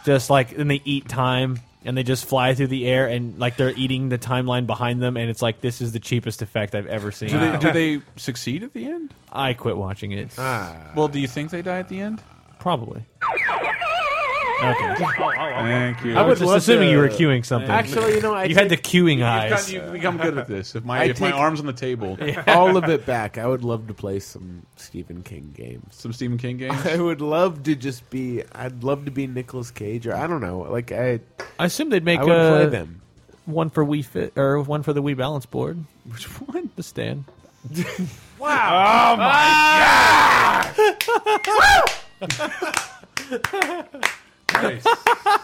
just like and they eat time and they just fly through the air and like they're eating the timeline behind them, and it's like this is the cheapest effect I've ever seen.
Do they, do they succeed at the end?
I quit watching it.
Well, do you think they die at the end?
Probably. Okay.
Thank you.
I was
would
just
love
assuming
to-
you were queuing something.
actually, you know, I
you had the
take
queuing
You've
eyes.
gotten- you've become good at this. If my
I
if my
take-
arms on the table,
*laughs* all of it back. I would love to play some Stephen King games.
some Stephen King games. *laughs*
*laughs* I would love to just be. I'd love to be Nicolas Cage or I don't know. Like I,
I assume they'd make
I would
uh,
play them.
one for Wii Fit or one for the Wii Balance Board. Which one? The stand.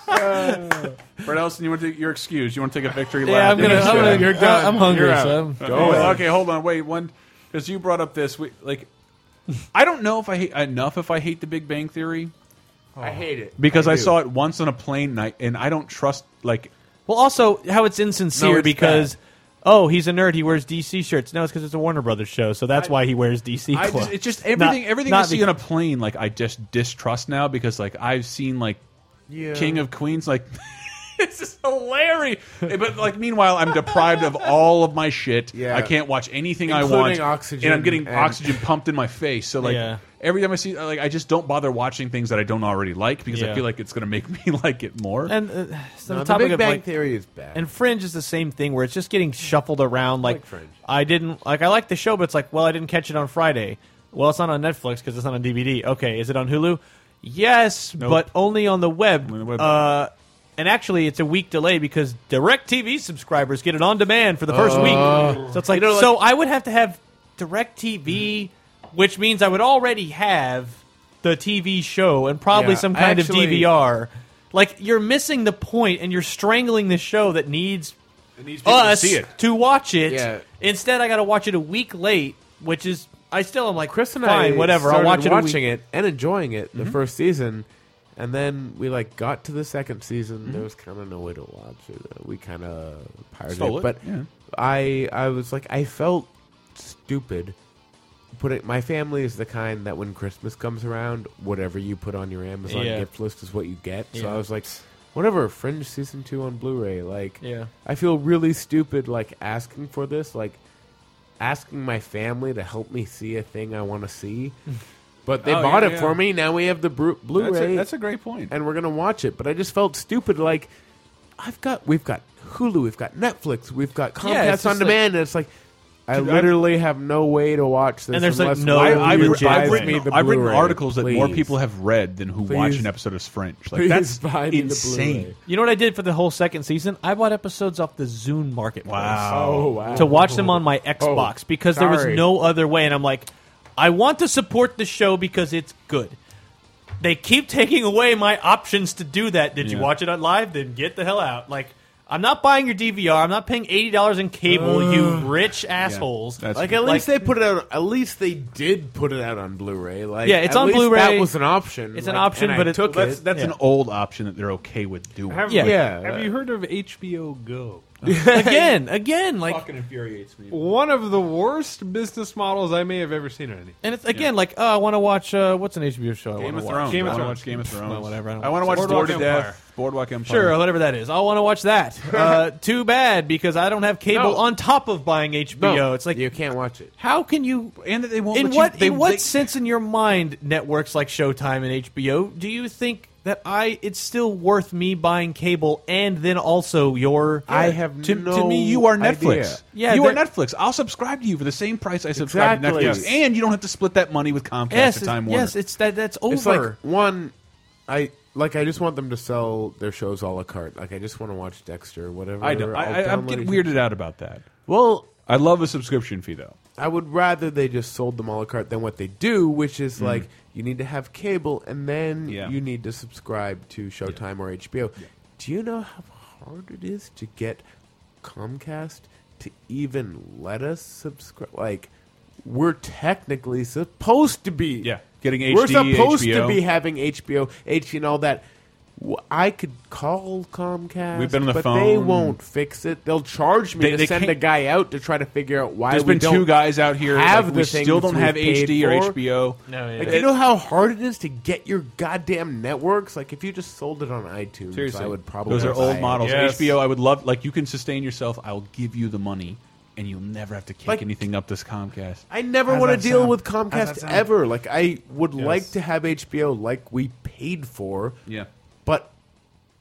Brett Ellison, you want to take, you're excused. You want to take a victory lap?
Yeah, I'm gonna. I'm, gonna,
You're done.
I'm hungry.
You're out.
so I'm-
Go okay, hold on. Wait, one because you brought up this. We, like, I don't know if I hate enough if I hate The Big Bang Theory
I hate it
because I,
do.
saw it once on a plane night, and I don't trust like.
well, also how it's insincere
No, it's
because. Oh, he's a nerd. He wears DC shirts. No, it's because it's a Warner Brothers show, so that's why he wears DC
I
clothes.
just, it's just everything.
Not-
everything
not
I see
because-
on a plane, like I just distrust now because like I've seen like King of Queens, like *laughs* this is hilarious. But like meanwhile, I'm deprived of all of my shit.
Yeah.
I can't watch anything I
Including
want.
oxygen
and I'm getting
and-
oxygen pumped in my face. So like
Yeah.
every time I see, like I just don't bother watching things that I don't already like because I
Yeah.
feel like it's gonna make *laughs* me like it more.
And uh,
No,
so the
the
topic
Big
of
Bang
like,
Theory is bad.
And Fringe is the same thing where it's just getting shuffled around. Like,
like Fringe.
I didn't like I like the show, but it's like, well, I didn't catch it on Friday. Well, it's not on Netflix because it's not on DVD. Okay, is it on Hulu? Yes, but only on the web.
Only the web.
Uh, and actually, it's a week delay because DirecTV subscribers get it on demand for the first week. So it's like,
You know, like-
so I would have to have DirecTV, which means I would already have the TV show and probably
Yeah,
some kind
actually-
of DVR. Like you're missing the point, and you're strangling the show that needs us
see it.
to watch it.
Yeah.
Instead, I got to watch it a week late, which is I still am like
Chris and
fine,
I
whatever. I'll
started
watch it.
watching
a week. Mm-hmm.
it and enjoying it the first season, and then we like got to the second season.
Mm-hmm.
There was kind of no way to watch it. Uh, We kind of pirated
Stole it,
but
yeah.
I I was like I felt stupid. Putting my family is the kind that when Christmas comes around, whatever you put on your Amazon
Yeah.
gift list is what you get. So
Yeah.
I was like, whatever, Fringe season two on Blu-ray, like.
Yeah.
I feel really stupid like asking for this, like asking my family to help me see a thing I want to
*laughs*
see. But they
Oh,
bought
yeah,
it
yeah.
for me. Now we have the Blu-
that's, a,
Blu-ray,
that's a great point.
and we're gonna watch it. But I just felt stupid. Like I've got, we've got Hulu, we've got Netflix, we've got Comcast
Yeah, it's
on
just
demand, and it's like. I literally have no way to watch this.
And there's, like,
unless
no
one of
I've,
you
legit
buys
I've
way.
me
written,
the
I've written
Blu-ray,
articles that more
please.
people have read than who watch
Please.
an episode of Fringe. Like
Please
that's
buy me the
insane.
Blu-ray.
You know what I did for the whole second season? I bought episodes off the Zune Marketplace.
Oh wow!
to watch them on my Xbox
Oh,
because there
sorry.
was no other way. And I'm like, I want to support the show because it's good. *laughs* They keep taking away my options to do that. Did you
Yeah.
watch it on live? Then get the hell out. Like, I'm not buying your DVR. I'm not paying eighty dollars in cable. you rich assholes.
That's-
Like
like,
at least they put it out. At least they did put it out on Blu-ray. Like
Yeah, it's
at
on
least
Blu-ray.
That was an option.
It's an
like,
option,
and
but
I
it-
took
That's
it.
that's an old option that they're okay with doing.
Have,
Yeah.
Yeah.
Have you heard of HBO *laughs* Go?
*laughs*
again, again, like
infuriates me.
One of the worst business models I may have ever seen on any.
And it's again like, oh, I want to watch uh, what's an HBO show? I
Game
wanna
of
watch?
Thrones.
Game of
I wanna
Thrones.
watch Game of Thrones.
Well, whatever, I don't
I want to
watch
watch
it.
Boardwalk
Boardwalk
to
Empire.
Death. Boardwalk Empire.
Sure, whatever that is. I want to
*laughs*
watch that. Uh, too bad because I don't have cable
No.
on top of buying HBO.
No,
it's like
you can't watch it.
how can you?
And that they won't.
in
let
what
You, they,
in what
they-
sense in your mind networks like Showtime and HBO do you think that I it's still worth me buying cable and then also your
I have
To,
no.
to me, you are Netflix.
idea.
Yeah,
you are
that-
Netflix. I'll subscribe to you for the same price I subscribe
Exactly.
to Netflix,
Yes.
and you don't have to split that money with Comcast
yes
or Time
it's-
Warner.
yes it's that that's over
It's like one. I like. I just want them to sell their shows a la carte. Like I just want to watch Dexter, whatever.
I don't. I,
I'll
I, I'm
download
getting
it.
weirded out about that.
Well,
I love a subscription fee though.
I would rather they just sold them a la carte than what they do, which is like you need to have cable and then
Mm. Yeah.
you need to subscribe to Showtime or HBO. Do you know how hard it is to get Comcast to even let us subscribe? Like, we're technically supposed to be.
Yeah. Getting
We're
HD,
supposed
HBO.
to be having HBO, HD, and all that. W- I could call Comcast.
We've been on the
but They
phone.
won't fix it. They'll charge me
They-
to
they
send a
can't-
guy out to try to figure out why
There's
we
been
don't
two guys out here
have
like,
the
we
thing
still
that
don't
we've
have
paid
HD
for.
or HBO.
No, yeah.
Like,
It-
you know how hard it is to get your goddamn networks? Like, if you just sold it on iTunes,
Seriously,
I would probably.
those are
buy
old
it.
models.
Yes.
HBO, I would love like you can sustain yourself. I'll give you the money, and you'll never have to kick
Like-
anything up this Comcast.
I never
How's
want to
that
deal
sound?
with
How's that
Comcast
sound?
ever. Like, I would
Yes.
like to have HBO like we paid for.
Yeah.
But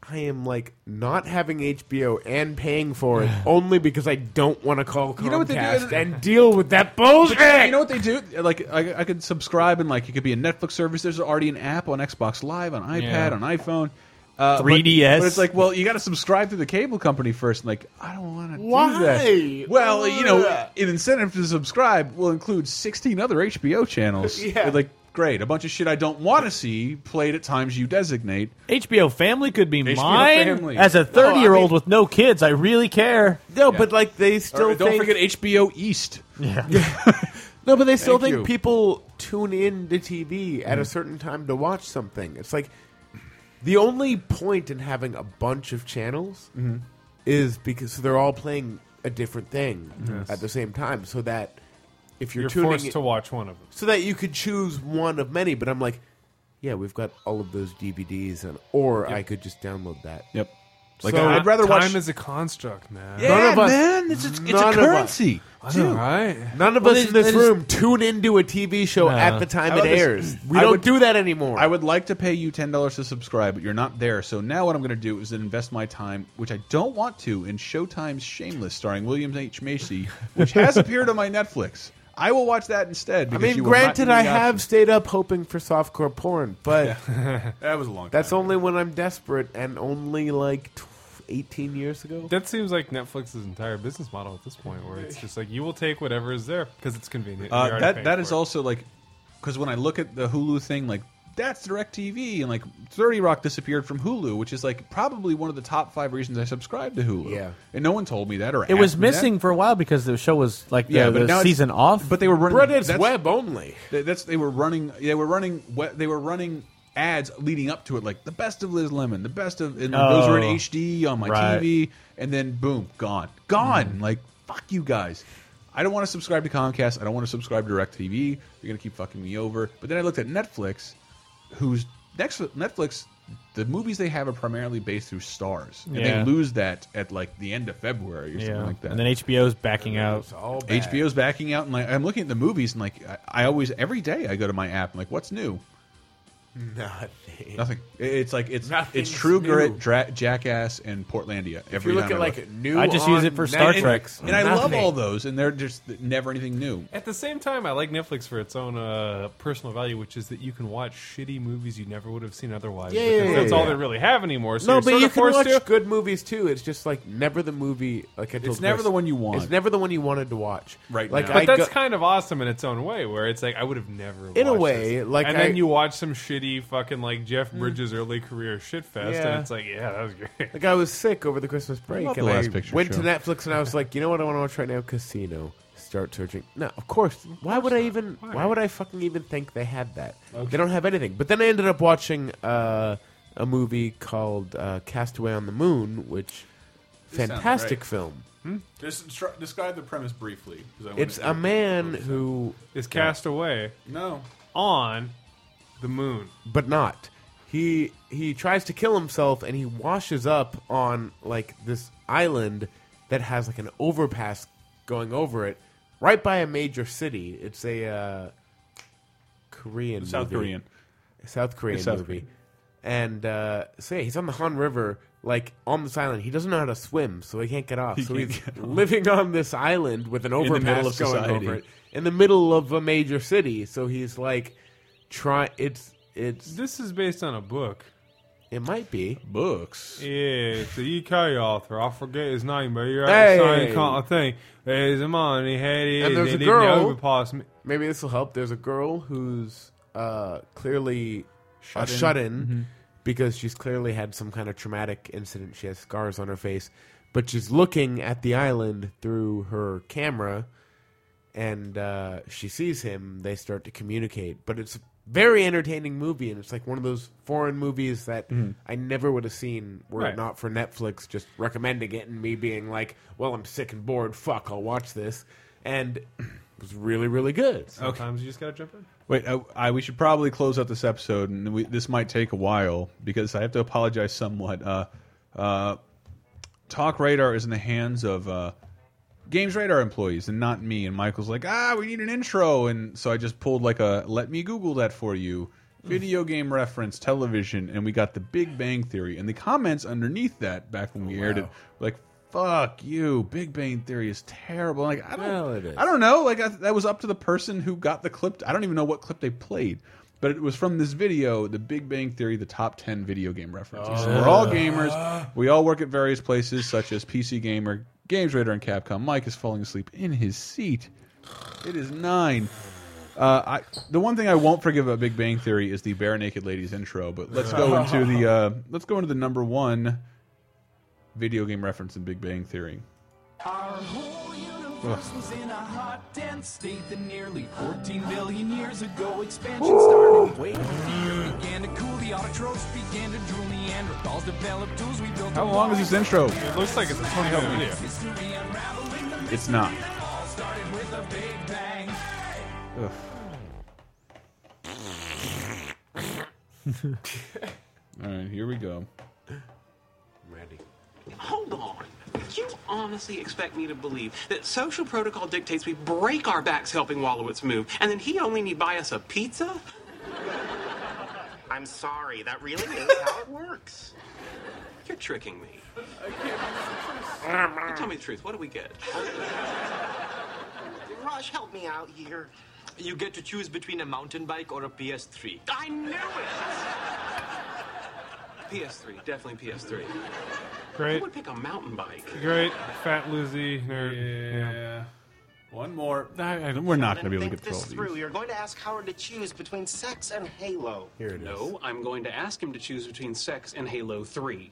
I am like not having HBO and
*sighs*
paying for it only because I don't want to call Comcast
You know what they do?
and deal with that bullshit.
You know what they do? Like I, I could subscribe and like it could be a Netflix service. There's already an app on Xbox Live, on iPad,
Yeah.
on iPhone. Uh, but-
3DS.
But, it's like, well, you got to subscribe to the cable company first. And like, I don't want to do
Why? Uh.
that. Well, you know,
Ugh.
an incentive to subscribe will include 16 other HBO channels.
*laughs* Yeah.
Like, great, a bunch of shit I don't want to see played at times you designate.
HBO Family could be
HBO
mine
Family.
as a
No, I
30 year old
mean-
with no kids. I really care.
no, but like they still
Or don't
think-
forget HBO East. *laughs*
No, but they still
Thank
think
you.
people tune in to TV at a certain time to watch something. It's like the only point in having a bunch of channels is because they're all playing a different thing at the same time, so that if you're,
You're
tuning,
forced
in-
to watch one of them.
so that you could choose one of many. But I'm like, yeah, we've got all of those DVDs, and or I could just download that.
Yep. Like,
So-
I'd rather
time
watch.
is a construct, man.
yeah,
uh, None of us-
man, it's, it's, it's
none
a
of us.
currency.
I
too.
know, right?
None of
Well,
us
they-
in this
they just-
room tune into a TV show at the
How
time it
about this?
airs. We
I
don't
would-
do that anymore.
I would like to pay you ten dollars to subscribe, but you're not there. So now what I'm going to do is invest my time, which I don't want to, in Showtime's Shameless, starring William H Macy, which has appeared on my Netflix. I will watch that instead.
I
Because
mean,
you will not give
granted,
me
I
the
have
option.
stayed up hoping for softcore porn, but
*laughs* That was a long.
that's
time.
only when I'm desperate and only like tw- 18 years ago.
That seems like Netflix's entire business model at this point, where it's just like you will take whatever is there because it's convenient. and you're
Uh,
already
that
paying
that
for
is
it.
also like because when I look at the Hulu thing, like that's DirecTV, and like Thirty Rock disappeared from Hulu, which is like probably one of the top five reasons I subscribe to Hulu.
Yeah.
and no one told me that or
It was
asked me that.
missing for a while because the show was like the,
Yeah, but
the
now it's-
season off.
But they were running.
But it's
that's-
web only.
They- That's they were running. They were running. we- They were running ads leading up to it, like the best of Liz Lemon, the best of. And Those were in
Oh.
HD on my
Right. Hmm.
TV, and then boom, gone, gone. Like fuck you guys. I don't want to subscribe to Comcast. I don't want to subscribe to DirecTV. You're gonna keep fucking me over. But then I looked at Netflix, who's next Netflix. The movies they have are primarily based through stars, and
Yeah.
they lose that at like the end of February or something like that.
And then HBO's backing out.
HBO's backing out, and like I'm looking at the movies, and like I, I always every day I go to my app, and like what's new?
Nothing.
*laughs* Nothing. It- It's like it's
Nothing's
it's True
new.
Grit, Dra Jackass, and Portlandia.
If
Every
you look
time
at
I
like
look.
new,
I just use
on
it for Star
Netflix,
Trek.
and I love
nothing.
all those, and they're just never anything new.
At the same time, I like Netflix for its own uh, personal value, which is that you can watch shitty movies you never would have seen otherwise.
Yeah,
because
yeah, yeah,
that's all
yeah.
they really have anymore. So
No, but
you're sort
you
of
can
forced
watch
to.
good movies too. It's just like never the movie. Like I told
never
Chris,
the one you want.
It's never the one you wanted to watch.
Right
Like
now.
I
But that's
go-
kind of awesome in its own way, where it's like I would have never
In a
watched
way,
this.
like
and
I- Mm.
then you watch some shitty shitty fucking like Jeff Bridges early career shit fest,
Yeah.
and it's like, yeah, that was great.
Like I was sick over the Christmas break,
love
and
the last
I
picture
went
show.
to Netflix and I was like, you know what I want to watch right now? Casino. Start searching. No, of course. Why would I even? Why? would I fucking even think they had that? They don't have anything. But then I ended up watching uh, a movie called uh, Castaway on the Moon, which
sounds
fantastic
great.
film.
Just tr- describe the premise briefly. 'cause I wanna
It's
hear
a man
what it
who,
Is cast away
is. No.
on the moon.
but not. He he tries to kill himself and he washes up on like this island that has like an overpass going over it, right by a major city. It's a uh, Korean,
South
movie.
Korean.
South Korean
It's South
movie.
Korean.
And uh, say he's on the Han River, like on this island. He doesn't know how to swim, so he can't get off. so
can't
he's
get
living on this island with an
the
overpass
middle of
going
society.
over it in the middle of a major city. So he's like, try. It's it's
This is based on a book.
it might be.
Books.
Yeah, it's the UK author. I forget his name, but you're
Hey.
hey. sign kind of thing. There's a man, he had it,
And there's
they
a
didn't
girl.
overpass me.
Maybe this will help. There's a girl who's uh, clearly shut a
in.
shut in because she's clearly had some kind of traumatic incident. She has scars on her face, but she's looking at the island through her camera, and uh, she sees him. They start to communicate, but it's a very entertaining movie, and it's like one of those foreign movies that I never would have seen were it
Right.
not for Netflix just recommending it and me being like, "Well, I'm sick and bored. Fuck, I'll watch this," and. It was really, really good.
Oh,
Sometimes you just gotta jump in.
Wait, I, I, we should probably close out this episode, and we, this might take a while because I have to apologize somewhat. Uh, uh, Talk Radar is in the hands of uh, Games Radar employees and not me. And Michael's like, ah, we need an intro, and so I just pulled like a let me Google that for you, video game reference, television, and we got the Big Bang Theory. And the comments underneath that, back when we
Oh,
aired it, were like. Fuck you! Big Bang Theory is terrible. Like I don't,
Well, it is.
I don't know. Like I, that was up to the person who got the clip. I don't even know what clip they played, but it was from this video, The Big Bang Theory, the top ten video game references. So we're all gamers. We all work at various places, such as PC Gamer, Games Radar, and Capcom. Mike is falling asleep in his seat. It is nine. Uh, I, the one thing I won't forgive about Big Bang Theory is the bare naked ladies intro. But let's go into the uh, let's go into the number one video game reference in Big Bang Theory.
Our whole universe was in a hot, dense state that nearly 14 billion years ago expansion started. Wait, the began to cool, the autotrophs began to drool, Neanderthals developed tools, we built
How long is this intro?
It looks like it's a 20 minute video.
history unraveling the
It's not.
all started with a big
*laughs*
bang.
All right, here we go.
Hold on. You honestly expect me to believe that social protocol dictates we break our backs helping Wallowitz move, and then he only need buy us a pizza? I'm sorry, that really is how it works. You're tricking me. You Tell me the truth, what do we get?
Raj, help me out here.
You get to choose between a mountain bike or a PS3.
I knew it! PS3, definitely PS3. Who
Great,
would pick a mountain bike?
great, fat Lizzie nerd.
Yeah. One more. we're not going to be able to
Think
get through all
this through.
these.
You're going to ask Howard to choose between sex and Halo.
Here it is.
No, I'm going to ask him to choose between sex and Halo 3.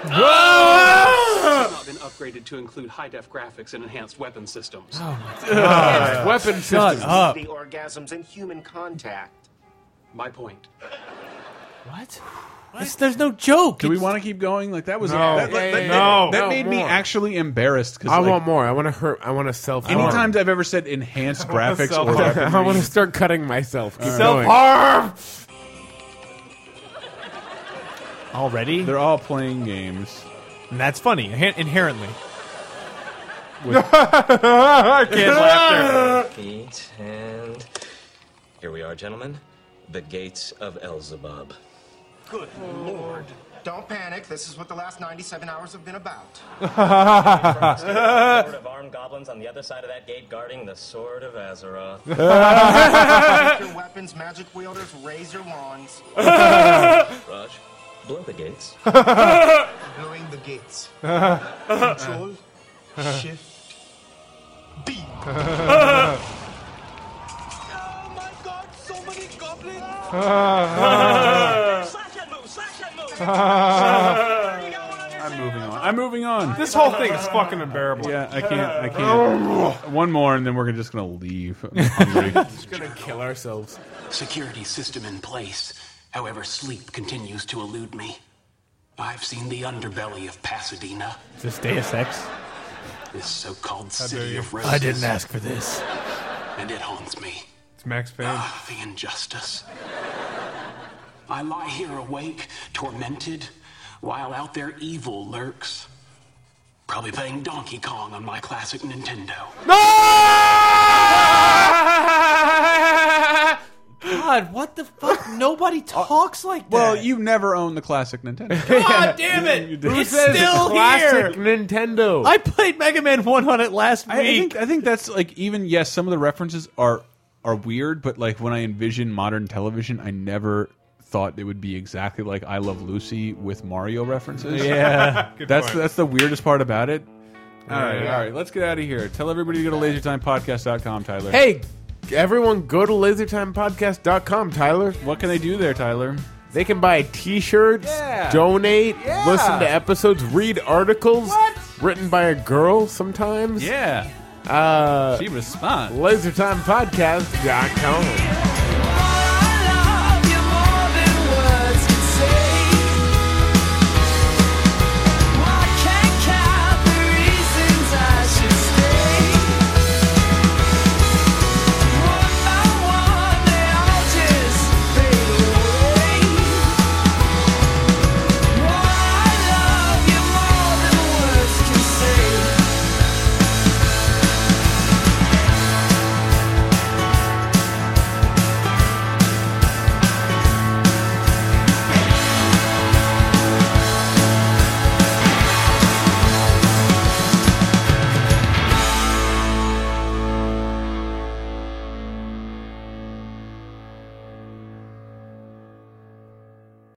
It's not been upgraded to include high def graphics and enhanced weapon systems.
Weapon
Shut
system.
up.
The orgasms and human contact.
My point.
What? It's- there's no joke.
Do we want to keep going? Like that was
No.
that, that-
Yeah,
that-
yeah,
yeah.
that- that
No.
made
No
me
more.
actually embarrassed because
I
like,
want more. I want to hurt. I want to self.
anytime I've ever said enhanced
*laughs*
graphics or
self-harm.
weapon-
I want to start cutting myself. Keep
Self
going.
harm!
Already?
they're all playing games.
And that's funny, inhe- inherently.
Kid laughter.
Feet, and here we are, gentlemen. The gates of Elzebub.
Good lord. Don't panic. This is what the last 97 hours have been about.
Sword of armed goblins on the other side of that gate guarding the sword of Azeroth.
Take your weapons, magic wielders, raise your wands.
Raj, blow the gates.
Blowing the gates. Control. Shift. B.
Oh my god, so many goblins!
*laughs*
this whole thing is fucking unbearable.
Yeah, I can't. I can't. One more, and then we're just gonna
*laughs*
leave. I'm hungry.
gonna kill ourselves.
Security system in place. However, sleep continues to elude me. I've seen the underbelly of Pasadena,
Is this Deus Ex?
this so called city of roses.
I didn't ask for this.
And it haunts me.
It's Max Payne.
Ah, the injustice. I lie here awake, tormented, while out there evil lurks. Probably playing Donkey Kong on my classic Nintendo.
God, what the fuck? Nobody talks like that.
well, you never owned the classic Nintendo.
God damn *laughs* it! It's still
Classic
here.
Nintendo.
I played Mega Man One on it last week.
I, I think. I think that's like even yes, some of the references are are weird, but like when I envision modern television, I never thought it would be exactly like I Love Lucy with Mario references. *laughs*
yeah.
Good
That's
point.
that's the weirdest part about it. All right, all right. Let's get out of here. Tell everybody to go to lasertimepodcast.com, Tyler.
hey, everyone, go to lasertimepodcast.com, Tyler.
what can they do there, Tyler?
They can buy T-shirts,
Yeah.
donate,
Yeah.
listen to episodes, read articles written by a girl sometimes.
Yeah,
Uh,
she responds.
LaserTimePodcast.com.